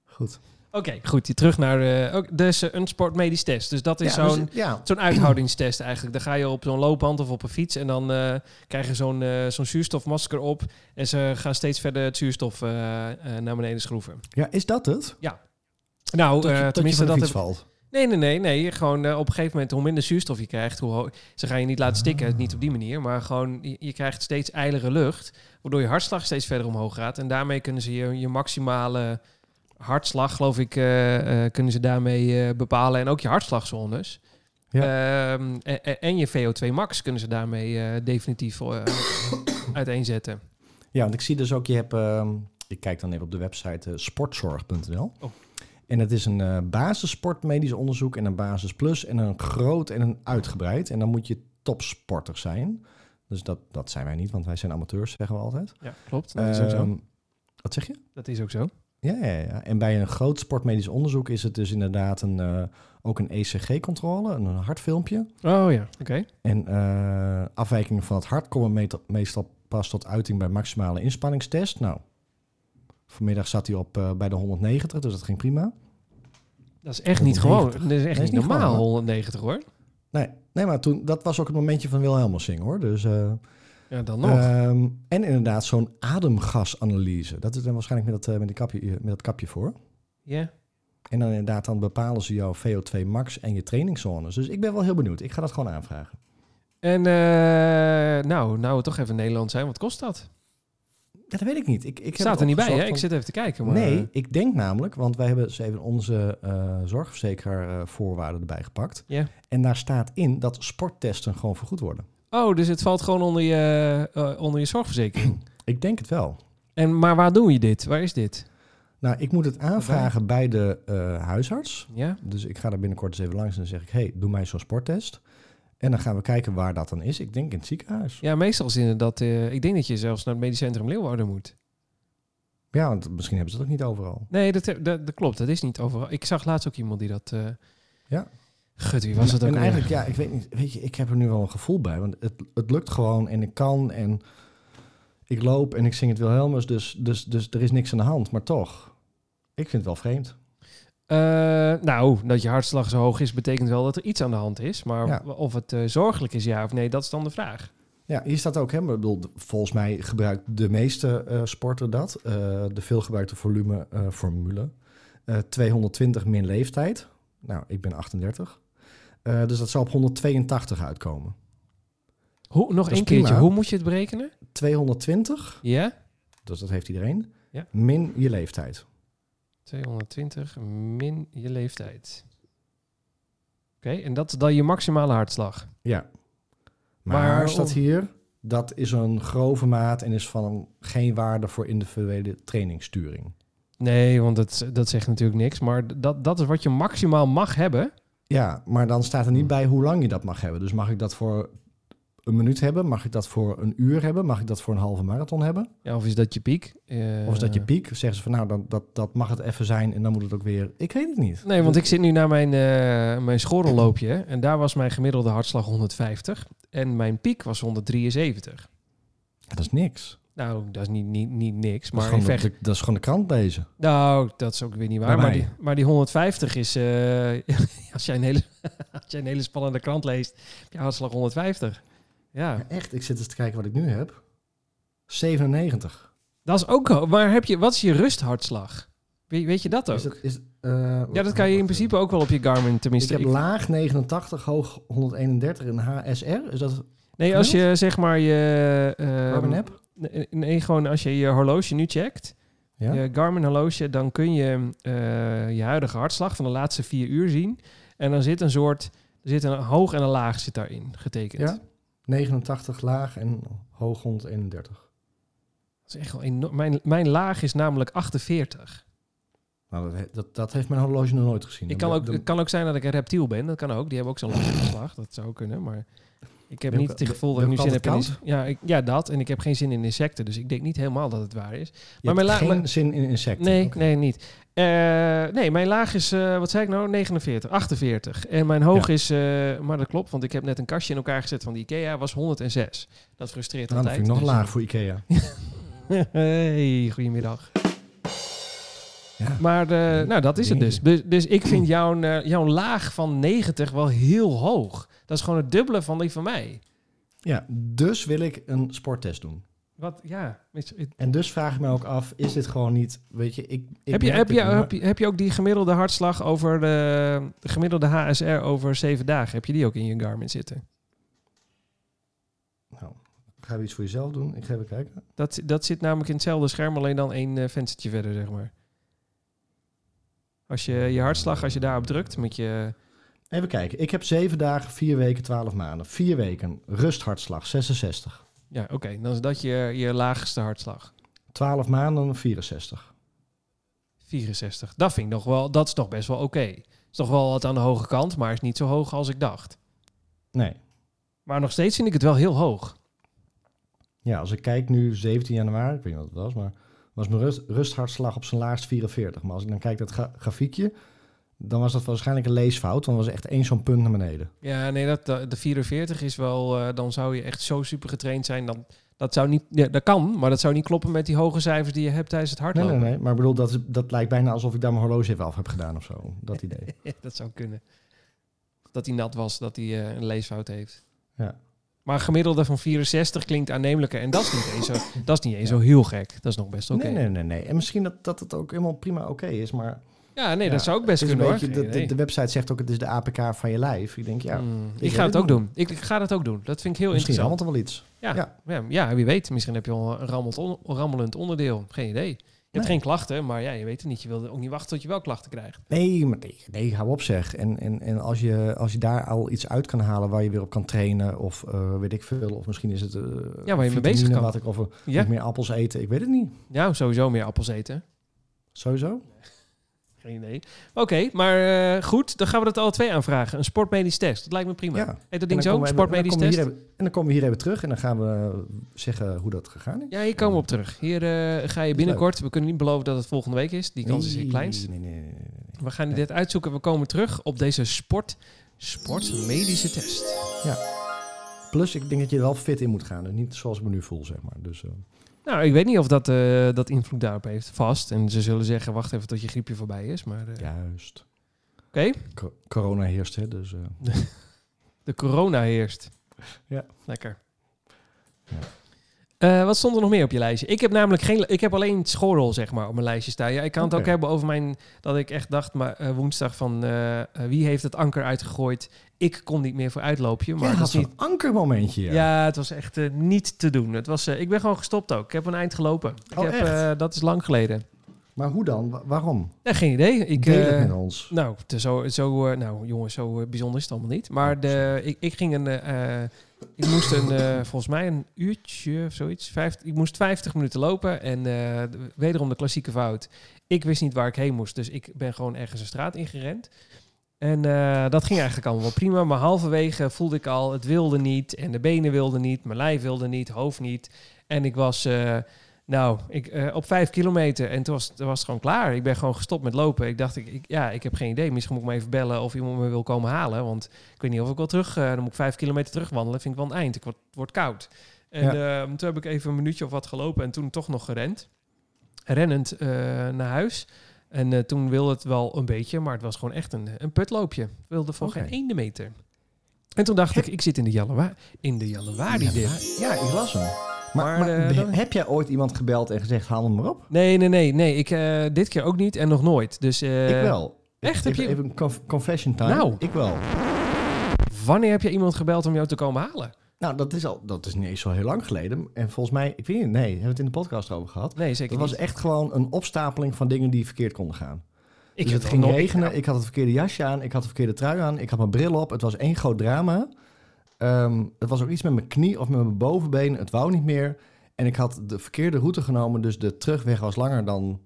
Goed. Oké, goed. Die Terug naar... eh, ook, dus eh, een sportmedisch test. Dus dat is ja, dus- zo'n... ja, Zo'n uithoudingstest eigenlijk. Dan ga je op zo'n loopband of op een fiets en dan eh, krijg je zo'n eh, zo'n zuurstofmasker op. En ze gaan steeds verder het zuurstof eh, eh, naar beneden schroeven. ja, is dat het? Nou, Tot eh, je- tot je tenminste van de dat... fiets heb- valt. Nee, nee, nee. nee. Gewoon eh, op een gegeven moment, hoe minder zuurstof je krijgt, hoe ho- ze gaan je niet laten stikken. Ah. Niet op die manier, maar gewoon je, je krijgt steeds eilere lucht. Waardoor je hartslag steeds verder omhoog gaat. En daarmee kunnen ze je, je maximale hartslag, geloof ik, eh, eh, kunnen ze daarmee eh, bepalen. En ook je hartslagzones. Ja. Ehm, e- e- en, je VO2 max kunnen ze daarmee eh, definitief eh, uiteenzetten. Ja, want ik zie dus ook, je hebt... ehm, ik kijk dan even op de website eh, sportzorg.nl. Oh. En dat is een eh basissportmedisch onderzoek en een basis plus en een groot en een uitgebreid. En dan moet je topsporter zijn. Dus dat, dat zijn wij niet, want wij zijn amateurs, zeggen we altijd. Ja, klopt. Dat is ook zo. Ehm, wat zeg je? Dat is ook zo. Ja, ja, ja. En bij een groot sportmedisch onderzoek is het dus inderdaad een, eh, ook een ECG-controle, een hartfilmpje. Oh ja, oké. En eh, afwijkingen van het hart komen meet- meestal pas tot uiting bij maximale inspanningstest. Nou, vanmiddag zat hij op eh, bij de 190, dus dat ging prima. Dat is echt niet gewoon. 190. Dat is echt Dat is niet niet normaal, gewoon, hè? 190 hoor. Nee, nee maar toen, dat was ook het momentje van Wilhelmusing hoor. Dus, eh, Ja, dan nog. ehm, en inderdaad, zo'n ademgasanalyse. Dat is dan waarschijnlijk met dat, eh, met, die kapje, met dat kapje voor. Ja. En dan inderdaad, dan bepalen ze jouw VO2 max en je trainingszones. Dus ik ben wel heel benieuwd. Ik ga dat gewoon aanvragen. En eh, nou, nou we toch even in Nederland zijn. Wat kost dat? Ja, dat weet ik niet. Ik, ik heb Staat het er niet bij, hè? opgezocht, Ik zit want- even te kijken. Maar, eh. nee, ik denk namelijk, want wij hebben eens even onze eh, zorgverzekeraar eh, voorwaarden erbij gepakt. Ja. En daar staat in dat sporttesten gewoon vergoed worden. Oh, dus het valt gewoon onder je, eh, onder je eh, zorgverzekering. Ik denk het wel. En En, maar waar doen je dit? Waar is dit? Nou, ik moet het aanvragen bij de eh, huisarts. Ja? Dus ik ga daar binnenkort eens even langs en dan zeg ik... hey, doe mij zo'n sporttest. En dan gaan we kijken waar dat dan is. Ik denk in het ziekenhuis. Ja, meestal is inderdaad... eh, ik denk dat je zelfs naar het medisch centrum Leeuwarden moet. Ja, want misschien hebben ze dat ook niet overal. Nee, dat, eh, dat, dat klopt. Dat is niet overal. Ik zag laatst ook iemand die dat... eh, Ja. Gut, wie was het en ook en alweer? eigenlijk, ja, ik weet niet, weet je, ik heb er nu wel een gevoel bij, want het, het lukt gewoon en ik kan en ik loop en ik zing het Wilhelmus, dus, dus, dus er is niks aan de hand, maar toch, ik vind het wel vreemd. Eh, nou, dat je hartslag zo hoog is, betekent wel dat er iets aan de hand is. Maar Ja. w- of het eh, zorgelijk is, ja of nee, dat is dan de vraag. Ja, hier staat ook, hè, maar ik bedoel, volgens mij gebruikt de meeste eh sporter dat, eh, de veelgebruikte volume eh, formule, Eh, 220 min leeftijd, nou, ik ben 38, Eh, dus dat zal op 182 uitkomen. Hoe, nog is één keertje, prima. hoe moet je het berekenen? 220, Ja? dus dat heeft iedereen, Ja. min je leeftijd. 220 min je leeftijd. Oké, en dat is dan je maximale hartslag. Ja. Maar, Maar- staat hier, dat is een grove maat en is van geen waarde voor individuele trainingsturing. Nee, want dat, dat zegt natuurlijk niks. Maar d- dat, dat is wat je maximaal mag hebben. Ja, maar dan staat er niet Hmm. bij hoe lang je dat mag hebben. Dus mag ik dat voor een minuut hebben? Mag ik dat voor een uur hebben? Mag ik dat voor een halve marathon hebben? Ja, of is dat je piek? Eh, Of is dat je piek? Zeggen ze van nou, dan, dat, dat mag het even zijn en dan moet het ook weer... Ik weet het niet. Nee, want ik zit nu naar mijn, eh mijn schorrelloopje. hè, En daar was mijn gemiddelde hartslag 150. En mijn piek was 173. Dat is niks. Nou, dat is niet, niet, niet niks. Maar Maar dat, in is gewoon vecht... de, dat is gewoon de krant lezen. Nou, dat is ook weer niet waar. Bij Maar mij. die, maar die 150 is... eh, als, jij een hele, als jij een hele spannende krant leest, heb je hartslag 150. Ja, Maar echt, ik zit eens te kijken wat ik nu heb. 97. dat is ook... ho- Maar heb je, wat is je rusthartslag? Weet, weet je dat ook? Is dat, is, eh, ja, dat kan je in wacht even. principe ook wel op je Garmin ik tenminste. heb Ik- laag 89, hoog 131 in HSR. Is dat nee, als je zeg maar je... ehm, Carbon App? nee, nee, gewoon als je je horloge nu checkt, Ja. je Garmin horloge, dan kun je eh, je huidige hartslag van de laatste vier uur zien. En dan zit een soort, er zit een hoog en een laag zit daarin getekend. ja. 89 laag en hoog 131. Dat is echt wel enorm. Mijn, mijn laag is namelijk 48. Nou, dat, he- dat, dat heeft mijn horloge nog nooit gezien. Ik kan ook, het Dan- kan ook zijn dat ik een reptiel ben. Dat kan ook. Die hebben ook zo'n laag hartslag. Dat zou kunnen, maar... Ik heb Ben je niet ook- het gevoel dat ik ben nu je zin ook heb in... altijd ins- Ja, ik, ja, dat. En ik heb geen zin in insecten. Dus ik denk niet helemaal dat het waar is. je maar hebt mijn la- geen mijn- zin in insecten. Nee, Oké. nee, niet. Eh, nee, mijn laag is, eh, wat zei ik nou, 49, 48. En mijn hoog is, eh, maar dat klopt, want ik heb net een kastje in elkaar gezet van de IKEA, was 106. Dat frustreert Nou, dat altijd. vind ik nog dus- laag voor Ikea. hey, goedemiddag. Ja. Maar eh, nou, dat is het dus. Dus, dus ik vind jouw, eh, jouw laag van 90 wel heel hoog. Dat is gewoon het dubbele van die van mij. ja, dus wil ik een sporttest doen. Wat, ja. is- En dus vraag ik me ook af, is dit gewoon niet... Weet je, ik... ik Heb je, merk heb, het je, nu, maar- heb, je, heb je ook die gemiddelde hartslag over eh, de, de gemiddelde HSR over zeven dagen? Heb je die ook in je Garmin zitten? Nou, gaan we iets voor jezelf doen? Ik ga even kijken. Dat, dat zit namelijk in hetzelfde scherm, alleen dan één eh, venstertje verder, zeg maar. Als je je hartslag, als je daarop drukt, moet je... Even kijken. Ik heb zeven dagen, vier weken, twaalf maanden. Vier weken, rusthartslag, 66. Ja, oké, dan is dat je, je laagste hartslag. 12 maanden 64. 64. Dat vind ik nog wel, dat is toch best wel oké. Is toch wel wat aan de hoge kant, maar is niet zo hoog als ik dacht. Nee. Maar nog steeds vind ik het wel heel hoog. Ja, als ik kijk nu 17 januari, ik weet niet wat het was, maar was mijn rust, rusthartslag op zijn laagst 44. Maar als ik dan kijk dat gra- grafiekje, dan was dat waarschijnlijk een leesfout. Want er was echt één zo'n punt naar beneden. Ja, nee, dat, eh, de, de 44 is wel... eh, dan zou je echt zo super getraind zijn. Dan, dat, zou niet, ja, dat kan, maar dat zou niet kloppen met die hoge cijfers die je hebt tijdens het Nee, hardlopen. nee, nee. Maar ik bedoel, dat, is- dat lijkt bijna alsof ik daar mijn horloge even af heb gedaan of zo. Dat idee. dat zou kunnen. Dat hij nat was, dat hij eh, een leesfout heeft. Ja. Maar een gemiddelde van 64 klinkt aannemelijker. En dat is niet eens zo, dat is niet eens zo heel gek. Dat is nog best oké. Nee, nee, nee, nee. En misschien dat, dat het ook helemaal prima oké is, maar... Ja, nee, Ja, dat zou ook het best is een kunnen hoor. beetje, Geen de, de, idee. de website zegt ook, het is de APK van je lijf. Ik denk, ja, Hmm, ik weet ga het het ook niet. doen. Ik, ik ga dat ook doen. Dat vind ik heel misschien interessant. allemaal wel iets. Ja, Ja. ja. Ja, wie weet. Misschien heb je al een rammelend, on- rammelend onderdeel. Geen idee. Nee. hebt geen klachten, maar ja, je weet het niet. Je wilde ook niet wachten tot je wel klachten krijgt. Nee, maar nee, nee, hou op zeg. En, en, en als, je, als je daar al iets uit kan halen waar je weer op kan trainen of eh, weet ik veel. Of misschien is het eh Ja, waar je mee vitamine bezig kan. Wat ik, of eh, Ja. nog meer appels eten, ik weet het niet. Nou, sowieso meer appels eten. Sowieso. Geen idee. Oké, maar eh, goed, dan gaan we dat alle twee aanvragen. Een sportmedisch test, dat lijkt me prima. Ja. En Heet dat dan ding zo, komen een we even- en dan sportmedisch komen we test? hier even- En dan komen we hier even terug en dan gaan we eh, zeggen hoe dat gegaan is. Ja, hier komen we op terug. Hier eh, ga je binnenkort, we kunnen niet beloven dat het volgende week is. Die kans is Nee, het kleinst. Nee, nee, nee, nee, nee. We gaan dit uitzoeken. We komen terug op deze sport, sportmedische test. Plus, ik denk dat je er wel fit in moet gaan. Dus niet zoals ik me nu voel, zeg maar. Dus, eh, Nou, ik weet niet of dat, eh, dat invloed daarop heeft. Vast. En ze zullen zeggen, wacht even tot je griepje voorbij is. Maar eh, Juist. Oké. Co- corona heerst, hè. Dus, eh, de corona heerst. Ja. Lekker. Ja. Eh, wat stond er nog meer op je lijstje? Ik heb namelijk geen. Ik heb alleen schoolrol, zeg maar, op mijn lijstje staan. Ja, ik kan het ook Oké. hebben over mijn. Dat ik echt dacht, maar eh, woensdag van eh, eh, wie heeft het anker uitgegooid? Ik kon niet meer voor uitloopje. Maar Jij dat had is niet. zo'n ankermomentje. Ja. ja. het was echt eh, niet te doen. Het was, eh, ik ben gewoon gestopt ook. Ik heb een eind gelopen. Ik Oh, heb, echt? eh, dat is lang geleden. Maar hoe dan? Wa- waarom? Nee, geen idee. Ik, Deel het eh, met ons. nou, te- zo, zo, eh, nou, jongens, zo eh, bijzonder is het allemaal niet. Maar de, ik, ik ging een. eh, eh, ik moest een, eh, volgens mij een uurtje of zoiets. Vijf, ik moest 50 minuten lopen. En eh, de- wederom de klassieke fout. Ik wist niet waar ik heen moest. Dus ik ben gewoon ergens een straat ingerend. En eh, dat ging eigenlijk allemaal wel prima. Maar halverwege voelde ik al, het wilde niet. En de benen wilden niet. Mijn lijf wilde niet. Hoofd niet. En ik was. eh, nou, ik, eh, op vijf kilometer en toen was, toen was het gewoon klaar. Ik ben gewoon gestopt met lopen. Ik dacht, ik, ik- ja, ik heb geen idee. Misschien moet ik me even bellen of iemand me wil komen halen. Want ik weet niet of ik wel terug... eh, dan moet ik vijf kilometer terug wandelen. Vind ik wel een eind. Ik word, het wordt koud. En eh, toen heb ik even een minuutje of wat gelopen en toen toch nog gerend. Rennend eh, naar huis. En eh, toen wilde het wel een beetje, maar het was gewoon echt een, een putloopje. Het wilde voor Oké. geen ene meter. En toen dacht ik, ik zit in de Jallewa- in de Jallewaardi Ah, dip. Ja, ik las hem. Maar, Maar, maar, eh, be- dan- heb jij ooit iemand gebeld en gezegd, haal hem maar op? Nee, nee, nee, nee. Ik, eh, dit keer ook niet en nog nooit. Dus eh, ik wel. echt? Heb Even, je- even een conf- confession time. Nou. Ik wel. wanneer heb je iemand gebeld om jou te komen halen? Nou, dat is, al, dat is niet eens zo heel lang geleden. En volgens mij, ik weet niet, nee, hebben we het in de podcast over gehad. Nee, zeker Het was niet. echt gewoon een opstapeling van dingen die verkeerd konden gaan. Ik dus heb het nog ging nooit- regenen, ik had het verkeerde jasje aan, ik had de verkeerde trui aan, ik had mijn bril op. Het was één groot drama. Ehm, het was ook iets met mijn knie of met mijn bovenbeen. Het wou niet meer. En ik had de verkeerde route genomen, dus de terugweg was langer dan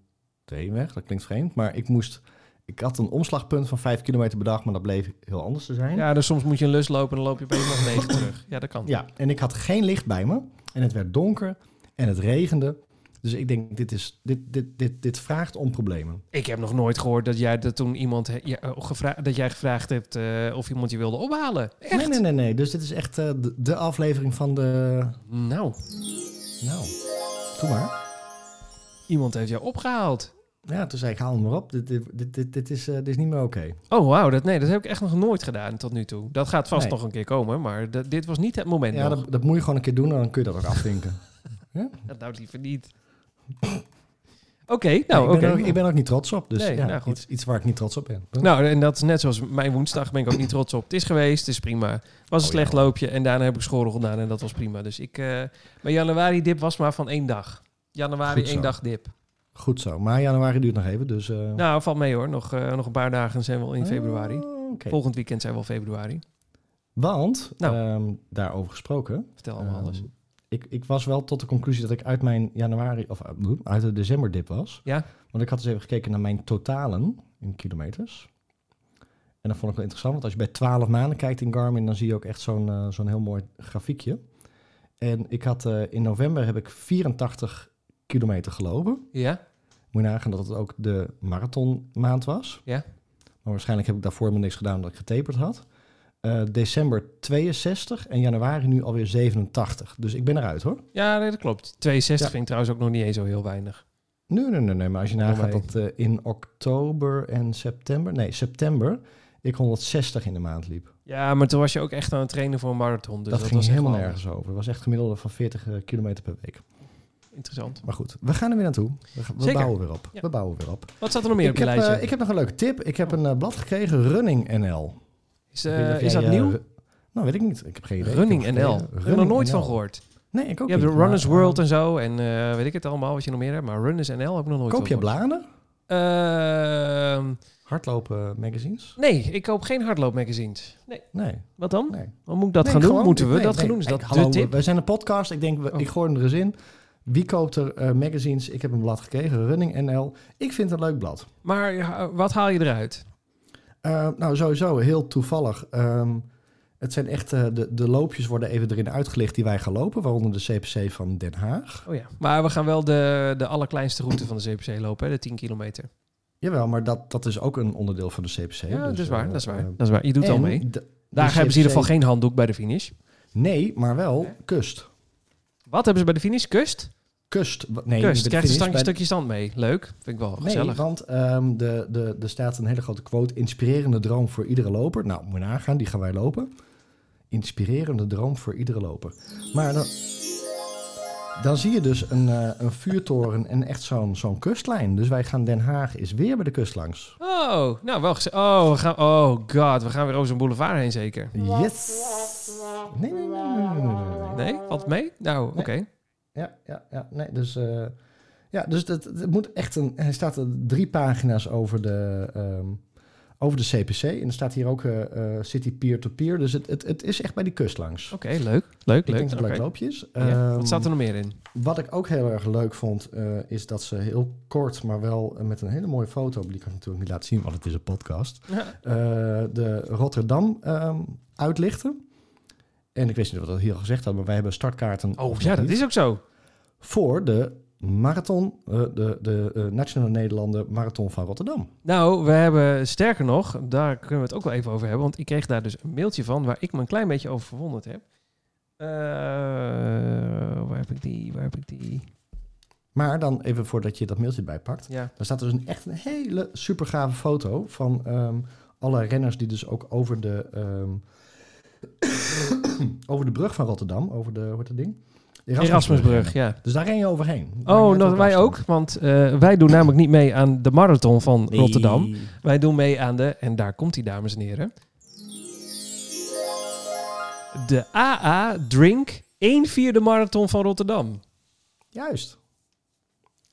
de heenweg. Dat klinkt vreemd, maar ik moest... Ik had een omslagpunt van 5 kilometer per dag, maar dat bleef heel anders te zijn. Ja, dus soms moet je een lus lopen en dan loop je opeens nog negen terug. Ja, dat kan. Ja, en ik had geen licht bij me. En het werd donker en het regende. Dus ik denk, dit, is, dit, dit, dit, dit vraagt om problemen. Ik heb nog nooit gehoord dat jij dat toen iemand he- ja, eh, gevra- dat jij gevraagd hebt eh, of iemand je wilde ophalen. Echt? Nee, nee, nee, nee. Dus dit is echt eh, de, de aflevering van de... Nou, Nou, doe maar. iemand heeft jou opgehaald. Ja, toen zei ik, haal hem maar op. Dit, dit, dit, dit, dit is, eh, dit is niet meer oké. Oh, wauw. Dat, nee, dat heb ik echt nog nooit gedaan tot nu toe. Dat gaat vast Nee. nog een keer komen, maar dat- dit was niet het moment Ja, nog. dat, dat moet je gewoon een keer doen en dan kun je dat ook afvinken. Dat... Nou, liever niet. Oké, Nee, ik, nou, ben oké. er ook- ik ben er ook niet trots op. Dus Nee, ja, nou, goed. iets, iets waar ik niet trots op ben. Nou, en dat is net zoals mijn woensdag ben ik ook niet trots op. Het is geweest, het is prima. Het was een Oh, slecht ja. loopje en daarna heb ik school gedaan en dat was prima. Dus ik, eh mijn januari dip was maar van één dag. Januari Goed zo. één dag dip. Goed zo. Maar januari duurt nog even, dus... eh, Nou, valt mee hoor. Nog, eh, nog een paar dagen en zijn we al in februari. Oh, oké. Volgend weekend zijn we al februari. Want, Nou. ehm, daarover gesproken... Vertel allemaal Ehm, alles. Ik, ik was wel tot de conclusie dat ik uit mijn januari, of eh, uit de decemberdip was. Ja. Want ik had eens even gekeken naar mijn totalen in kilometers. En dat vond ik wel interessant, want als je bij 12 maanden kijkt in Garmin, dan zie je ook echt zo'n eh, zo'n heel mooi grafiekje. En ik had eh, in november heb ik 84 kilometer gelopen. Ja? Moet je nagaan dat het ook de marathonmaand was. Ja. Maar waarschijnlijk heb ik daarvoor me niks gedaan omdat ik getaperd had. Eh, december 62 en januari nu alweer 87. Dus ik ben eruit hoor. Ja, nee, dat klopt. 62 Ja. vind ik trouwens ook nog niet eens zo heel weinig. Nee, nee, nee, nee. Maar als je Waarom nagaat dat eh, in oktober en september... Nee, september ik 160 in de maand liep. Ja, maar toen was je ook echt aan het trainen voor een marathon. Dus dat, dat, ging was echt helemaal wel nergens over. Dat was echt gemiddelde van 40 eh, kilometer per week. Interessant. Maar goed, we gaan er weer naartoe. We, gaan- we Zeker. bouwen weer op. Ja. We bouwen weer op. Wat staat er nog meer ik, op je heb, lijstje? eh, ik heb nog een leuke tip. Ik heb een eh, blad gekregen, Running NL. is Ik eh, weet niet of is jij, dat eh, nieuw? ru- nou, weet ik niet. Ik heb geen idee. Running Ik heb NL. nog Ik geen heb idee. er nog nooit NL. van gehoord. Nee, ik ook Je hebt niet, Runners maar, World eh, en zo en eh, weet ik het allemaal wat je nog meer hebt. Maar Runners NL heb ik nog nooit Koop je van gehoord. bladen? Ehm, Hardlopen magazines? nee, ik koop geen hardloopmagazines. Nee. Nee. Wat dan? nee. Wat moet ik dat Nee, gaan doen? gewoon- Moeten we nee, dat nee, gaan doen? Is nee, dat hallo, de tip? Wij zijn een podcast. Ik denk, we- Oh. ik gooi hem er eens in. Wie koopt er eh, magazines? Ik heb een blad gekregen, Running NL. Ik vind het een leuk blad. Maar ja, wat haal je eruit? Eh, nou, sowieso heel toevallig. Ehm, het zijn echt, eh, de, de loopjes worden even erin uitgelicht die wij gaan lopen. Waaronder de CPC van Den Haag. Oh ja. Maar we gaan wel de, de allerkleinste route van de CPC lopen, hè? de 10 kilometer. Jawel, maar dat, dat is ook een onderdeel van de CPC. Ja, dus, dat is waar, dat is waar. eh, dat is waar. Je doet al en mee. de- dus de Daar hebben ze in ieder CPC geval geen handdoek bij de finish. Nee, maar wel kust. Wat hebben ze bij de finish? Kust? Kust. wa- Nee, Kust. bij de Krijgt een finish, standje, bij de- stukje stand mee. Leuk. Vind ik wel Nee, gezellig. want ehm de, de, er staat een hele grote quote. Inspirerende droom voor iedere loper. Nou, moet je nagaan, die gaan wij lopen. Inspirerende droom voor iedere loper. Maar dan, dan zie je dus een, eh, een vuurtoren en echt zo'n zo'n kustlijn. Dus wij gaan Den Haag is weer bij de kust langs. Oh, nou wel gezellig. Oh, we gaan, oh god, we gaan weer over zo'n boulevard heen zeker. Yes! Nee, nee, nee, nee, nee, nee, nee, nee. Nee? Valt mee? Nou, oké. Ja, ja, ja. Nee, dus... eh, ja, dus dat, het moet echt een... Er staat er drie pagina's over de, ehm, over de CPC. En er staat hier ook eh, eh, City Peer-to-Peer. Dus het, het, het is echt bij die kust langs. Oké, leuk. Leuk, Ik leuk. denk dat het Oké. leuk loopje is. Ja, Ehm, Wat staat er nog meer in? wat ik ook heel erg leuk vond, eh, is dat ze heel kort, maar wel eh, met een hele mooie foto, die kan ik natuurlijk niet laten zien, want het is een podcast, Ja. eh, de Rotterdam ehm, uitlichten. En ik wist niet of dat hier al gezegd had, maar wij hebben startkaarten. Oh of ja, nog dat niet is ook zo. voor de marathon, eh, de, de eh, Nationale Nederlanden Marathon van Rotterdam. Nou, we hebben sterker nog, daar kunnen we het ook wel even over hebben. Want ik kreeg daar dus een mailtje van waar ik me een klein beetje over verwonderd heb. Eh, waar heb ik die? Waar heb ik die? Maar dan even voordat je dat mailtje bijpakt. Ja. Daar staat dus een, echt een hele super gave foto van ehm, alle renners die dus ook over de, ehm, over de brug van Rotterdam, over de, hoe heet dat ding? Erasmusbrug, ja. Dus daar ren je overheen. Maakt Oh, niet uit nog welke wij afstand. ook, want eh, wij doen namelijk niet mee aan de marathon van Rotterdam. Wij doen mee aan de, en daar komt die dames en heren, de AA Drink 1 vierde marathon van Rotterdam. Juist.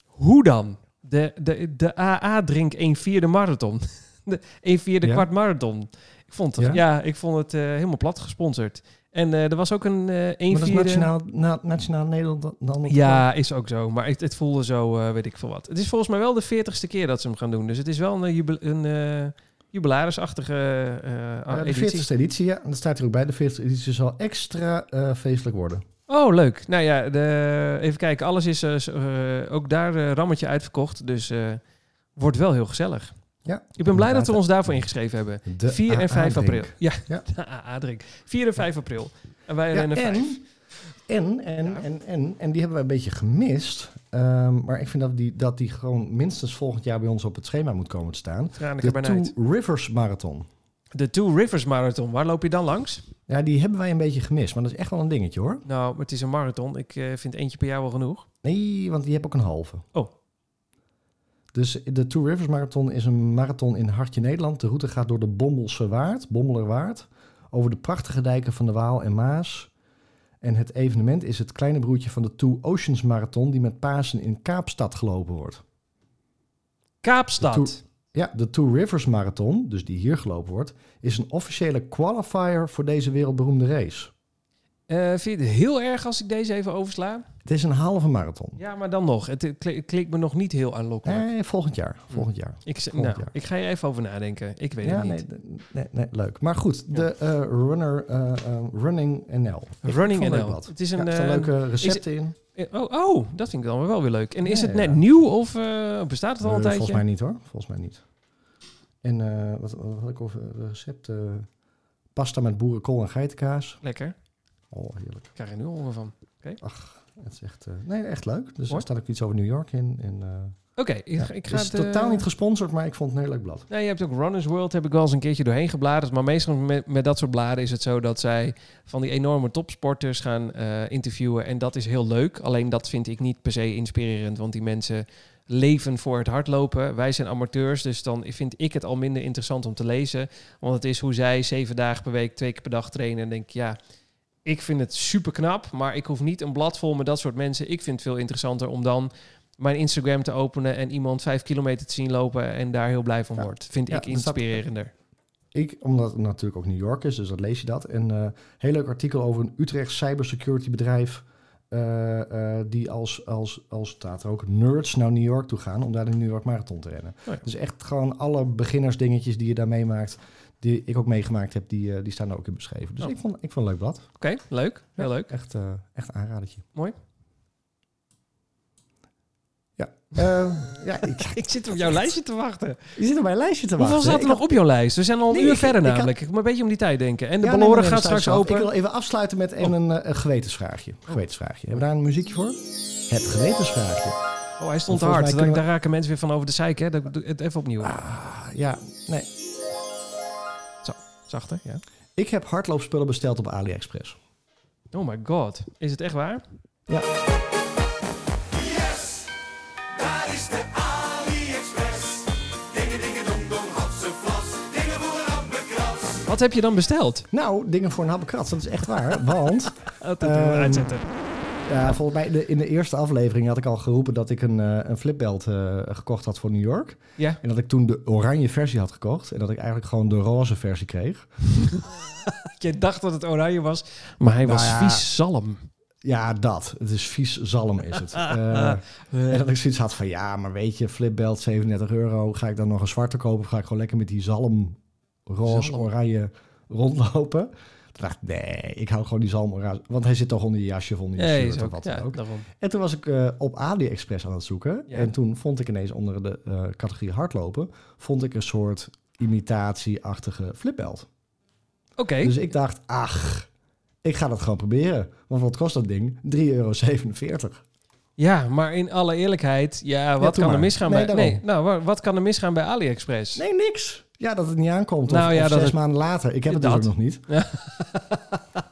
Hoe dan? De, de, de AA Drink 1 vierde marathon. De 1 vierde Ja. kwart marathon. Ik vond het, ja. Ja. ik vond het eh, helemaal plat gesponsord. En eh, er was ook een eh 1 Maar dat is vierde... nationaal, na, nationaal Nederland dan Ja, is ook zo. Maar het, het voelde zo, eh, weet ik veel wat. Het is volgens mij wel de veertigste keer dat ze hem gaan doen. Dus het is wel een, jubel, een eh, jubilarisachtige eh, Ja, de editie. 40ste editie, ja. En dat staat hier ook bij. De 40ste editie zal extra eh, feestelijk worden. Oh, leuk. Nou ja, de, even kijken. Alles is eh, zo- eh, ook daar eh, rammetje uitverkocht. Dus eh, wordt wel heel gezellig. Ja, Ik ben blij dat we inderdaad. ons daarvoor ingeschreven hebben. De 4 en 5 AA-drink. april. Ja, Ja. de AA-drink. 4 en 5 april. En wij Ja, rennen 5. en, en, en, Ja. en, en, en die hebben we een beetje gemist. Ehm, maar ik vind dat die, dat die gewoon minstens volgend jaar bij ons op het schema moet komen te staan. Tranen De erbij uit. Two Rivers Marathon. De Two Rivers Marathon. Waar loop je dan langs? Ja, die hebben wij een beetje gemist. Maar dat is echt wel een dingetje hoor. Nou, het is een marathon. Ik eh, vind eentje per jaar wel genoeg. Nee, want die heb ook een halve. Oh. Dus de Two Rivers Marathon is een marathon in Hartje Nederland. De route gaat door de Bommelse Waard, Bommelerwaard, over de prachtige dijken van de Waal en Maas. En het evenement is het kleine broertje van de Two Oceans Marathon, die met Pasen in Kaapstad gelopen wordt. Kaapstad. De Ja, de Two Rivers Marathon, dus die hier gelopen wordt, is een officiële qualifier voor deze wereldberoemde race. Eh, vind je het heel erg als ik deze even oversla? Het is een halve marathon. Ja, maar dan nog. Het, eh, kli- het klinkt me nog niet heel aanlokkelijk. Nee, volgend jaar. Volgend jaar. ik, z- volgend nou, jaar. ik ga hier even over nadenken. Ik weet Ja, het niet. nee, d- nee, nee, leuk. Maar goed, de eh, runner, eh, eh, Running NL. Ik Running vond het NL. leuk wat. Het is Ja, een... er eh, staan leuke recepten in. eh, oh, oh, dat vind ik dan wel weer leuk. En is Ja, het net ja. nieuw of eh, bestaat het al een Eh, tijdje? Volgens mij niet hoor. Volgens mij niet. En eh, wat, wat had ik over de recepten? Pasta met boerenkool en geitenkaas. Lekker. Oh, heerlijk. Ik krijg er nu honger van. Het is echt, eh, nee, echt leuk. Dus Mooi. er staat ook iets over New York in. En, eh, Oké, ik, Ja, dus ga- ik het ga is het... eh, totaal niet gesponsord, maar ik vond het een heel leuk blad. Nee, je hebt ook Runners World, heb ik wel eens een keertje doorheen gebladerd. Maar meestal met, met dat soort bladen is het zo dat zij van die enorme topsporters gaan eh, interviewen. En dat is heel leuk. Alleen dat vind ik niet per se inspirerend, want die mensen leven voor het hardlopen. Wij zijn amateurs, dus dan vind ik het al minder interessant om te lezen. Want het is hoe zij zeven dagen per week, twee keer per dag trainen. En denk ik, ja, ik vind het super knap, maar ik hoef niet een blad vol met dat soort mensen. Ik vind het veel interessanter om dan mijn Instagram te openen en iemand vijf kilometer te zien lopen en daar heel blij van Ja. wordt. Vind Ja, ik dat snap ik. inspirerender. Ik, omdat het natuurlijk ook New York is, dus dat lees je dat. En eh, heel leuk artikel over een Utrecht cybersecurity bedrijf. eh, eh, die als, als, als staat er ook nerds naar New York toe gaan om daar de New York Marathon te rennen. ja. Dus echt gewoon alle beginnersdingetjes die je daar meemaakt, die ik ook meegemaakt heb, die, eh, die staan er ook in beschreven. Dus Oh. ik, vond, ik vond het leuk blad. Oké, leuk. Heel leuk. Echt, eh echt een aanradertje. Mooi. Ja, Eh, ja ik, Ik zit op jouw lijstje te wachten. je zit op mijn lijstje te wachten. Hoeveel staat Ik er nog had- op jouw lijst? We zijn al een Nee, uur ik- verder ik had- namelijk. Ik moet een beetje om die tijd denken. En de Ja, nee, balloren nee, nee, gaat dat straks staat zelf. open. Oh. Ik wil even afsluiten met even een, eh, een gewetensvraagje. gewetensvraagje. Hebben we daar een muziekje voor? Het gewetensvraagje. Oh, hij stond te hard. Volgens Daar- mij kunnen we- Daar raken mensen weer van over de zeik. Hè? Dat- doe- Het even opnieuw. Ah, ja, nee. Zachter, ja. Ik heb hardloopspullen besteld op AliExpress. Oh my god. Is het echt waar? Daar is de AliExpress. Dingen, dingen, dong, dong, hapse vlas. Dingen voor een hamburgkras. Wat heb je dan besteld? Nou, dingen voor een habbekrat, dat is echt waar. Want Dat doen we Ehm, uitzetten. uitzetten. ja, volgens mij de- in de eerste aflevering had ik al geroepen dat ik een, eh, een flipbelt eh, gekocht had voor New York. Ja. En dat ik toen de oranje versie had gekocht. En dat ik eigenlijk gewoon de roze versie kreeg. Je dacht dat het oranje was, maar hij Nou was ja. vies zalm. Ja, dat. Het is vies zalm is het. Eh, En dat ik zoiets had van, ja, maar weet je, flipbelt 37 euro. Ga ik dan nog een zwarte kopen of ga ik gewoon lekker met die zalm, roze, Zalm. oranje rondlopen? Toen dacht ik, nee, ik hou gewoon die zalm oranje. Want hij zit toch onder je jasje of onder je Nee, shirt is of ook, wat ja, dan ook. daarom. En toen was ik eh, op AliExpress aan het zoeken. Ja. En toen vond ik ineens onder de eh, categorie hardlopen, vond ik een soort imitatieachtige flipbelt. Oké, Dus ik dacht, ach, ik ga dat gewoon proberen. Want wat kost dat ding? 3,47 euro. ja, maar in alle eerlijkheid, ja, wat doe kan er maar. misgaan Nee, bij... daarom. Nee, nou, wa- wat kan er misgaan bij AliExpress? Nee, niks. Ja, dat het niet aankomt. Of, Nou ja, of dat zes het- maanden later. Ik heb het Dat. dus ook nog niet.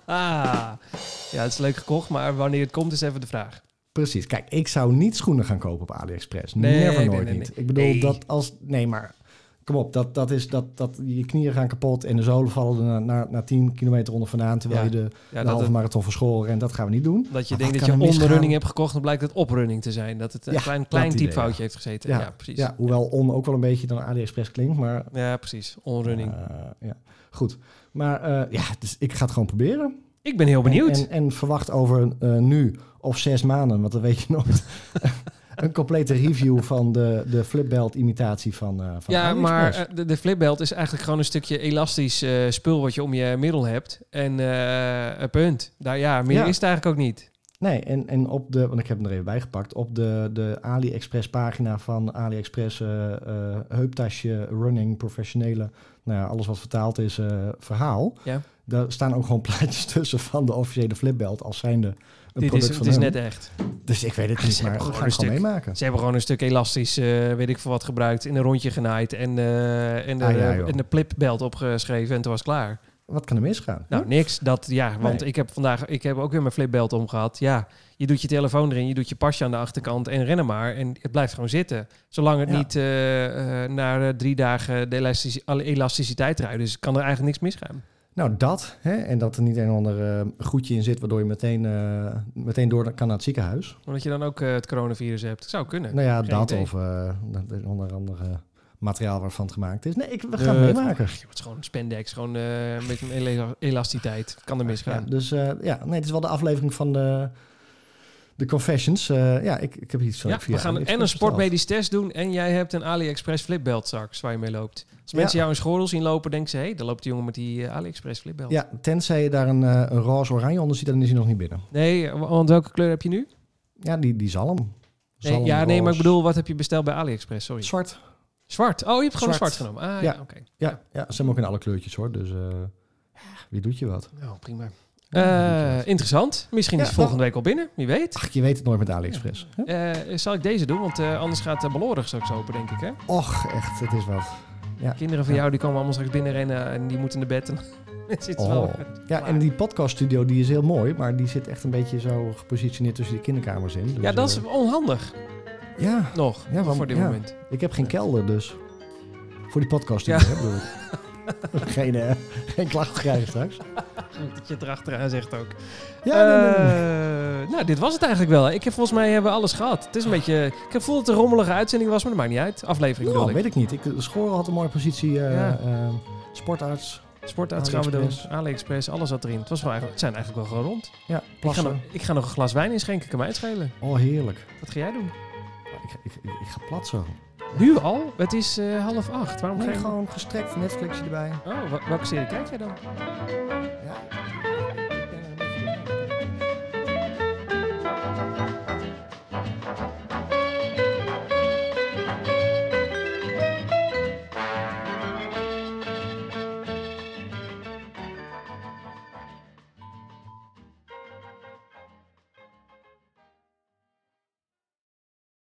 Ah, ja, het is leuk gekocht, maar wanneer het komt is even de vraag. Precies. Kijk, ik zou niet schoenen gaan kopen op AliExpress. Nee, Never, nee, nooit nee, niet. nee. Ik bedoel, Nee. dat als... Nee, maar kom op. Dat, dat is dat, dat je knieën gaan kapot en de zolen vallen er na, na, na 10 kilometer onder vandaan... terwijl Ja. je de, Ja, de dat, halve het- marathon verschoren. En dat gaan we niet doen. dat je Maar denkt wat dat kan je er misgaan? onderrunning hebt gekocht, dan blijkt het oprunning te zijn. Dat het een Ja, klein, dat klein idee, typfoutje ja. heeft gezeten. Ja, Ja, precies. Ja, Ja. hoewel on ook wel een beetje dan AliExpress klinkt, maar... precies. Onrunning. eh, ja, goed. Maar eh, ja, dus ik ga het gewoon proberen. Ik ben heel benieuwd. En, en, en verwacht over eh, nu of zes maanden, want dat weet je nooit. een complete review van de, de flipbelt imitatie van, eh van ja, maar AliExpress. eh, de, de flipbelt is eigenlijk gewoon een stukje elastisch eh, spul wat je om je middel hebt. En eh, een punt. Daar, ja, meer Ja. is het eigenlijk ook niet. Nee, en, en op de, want ik heb hem er even bij gepakt, op de, de AliExpress pagina van AliExpress eh, eh, heuptasje, running, professionele, nou ja, alles wat vertaald is, eh, verhaal. Ja. Daar staan ook gewoon plaatjes tussen van de officiële flipbelt als zijnde een Dit product is, van het is hun. net echt. Dus ik weet het Ze niet, hebben maar we gewoon gaan een het gewoon stuk- meemaken. Ze hebben gewoon een stuk elastisch, eh, weet ik veel wat, gebruikt. In een rondje genaaid en, eh, en, de, Ah, ja, joh. en de plipbelt opgeschreven. En toen was het klaar. Wat kan er misgaan? Nou, niks. Dat, ja, want Hm? Nee. ik heb vandaag ik heb ook weer mijn flipbelt omgehad. Ja, je doet je telefoon erin, je doet je pasje aan de achterkant en rennen maar. En het blijft gewoon zitten. Zolang het Ja. niet eh, eh, na eh, drie dagen de elastici- alle elasticiteit eruit is, kan er eigenlijk niks misgaan. Nou, dat. Hè? En dat er niet een of ander eh goedje in zit, waardoor je meteen, eh, meteen door kan naar het ziekenhuis. Omdat je dan ook eh, het coronavirus hebt. Zou kunnen. nou ja, geen dat idee. of eh, dat er onder andere eh, materiaal waarvan het gemaakt is. Nee, ik, we gaan Eh, het meemaken. Ach, joh, het is gewoon spandex, gewoon eh, een beetje ele- elasticiteit. Kan er Ja, misgaan. dus eh, ja, nee, het is wel de aflevering van de, de Confessions. Eh, ja, ik, ik heb iets van Ja, via we gaan en een AliExpress sportmedisch test doen en jij hebt een AliExpress flipbelt straks waar je mee loopt. Als Ja. mensen jou in schorrel zien lopen, denken ze, hé, hey, daar loopt die jongen met die eh, AliExpress flipbelt. besteld. Ja, tenzij je daar een, eh, een roze-oranje onder ziet, dan is hij nog niet binnen. Nee, wa- want welke kleur heb je nu? Ja, die, die zalm. Nee, Zalm, ja, nee, maar ik roze. bedoel, wat heb je besteld bij AliExpress? Sorry. Zwart. Zwart. Oh, je hebt gewoon zwart, Zwart. genomen. Ah, ja, Ja. oké. Ja, ja, ze hebben ook in alle kleurtjes hoor. Dus eh, wie doet je wat? Nou, prima. Ja, Eh, interessant. Misschien Ja, is het volgende week al binnen. Wie weet. Ach, je weet het nooit met AliExpress. hè? Eh, zal ik deze doen? Want eh, anders gaat de balorig straks open, denk ik. Hè? Och, echt, het is wat. Kinderen van Ja. jou die komen allemaal straks binnenrennen en die moeten naar bed. En het zit wel. Oh. Ja, en die podcaststudio die is heel mooi, maar die zit echt een beetje zo gepositioneerd tussen de kinderkamers in. Dus, Ja, dat is eh, onhandig ja, nog Ja, want- voor dit ja. moment. ik heb geen kelder dus. Voor die podcaststudio, Ja. hè, bedoel ik. geen, eh, geen klacht krijgen straks. Dat je het erachteraan zegt ook. Ja, nee, nee, nee. Eh, Nou, dit was het eigenlijk wel. Ik heb volgens mij hebben we alles gehad. Het is een beetje... Ik heb gevoel dat het een rommelige uitzending was, maar dat maakt niet uit. Aflevering Ja, bedoel ik. weet ik niet. Ik, Schoren had een mooie positie. eh, Ja. eh, sportarts. Sportarts gaan we doen. AliExpress. AliExpress, alles zat erin. Het, was wel eigenlijk, het zijn eigenlijk wel gewoon rond. Ja, Ik ga, nog, plassen. ik ga nog een glas wijn inschenken. Kan mij uitschelen. Oh, heerlijk. Wat ga jij doen? Ik, ik, ik, ik ga platsen. Nu al? Het is eh, half acht. Waarom ga Nee, je... gewoon gestrekt Netflixje erbij. Oh, wa- welke serie kijk jij dan? Ja.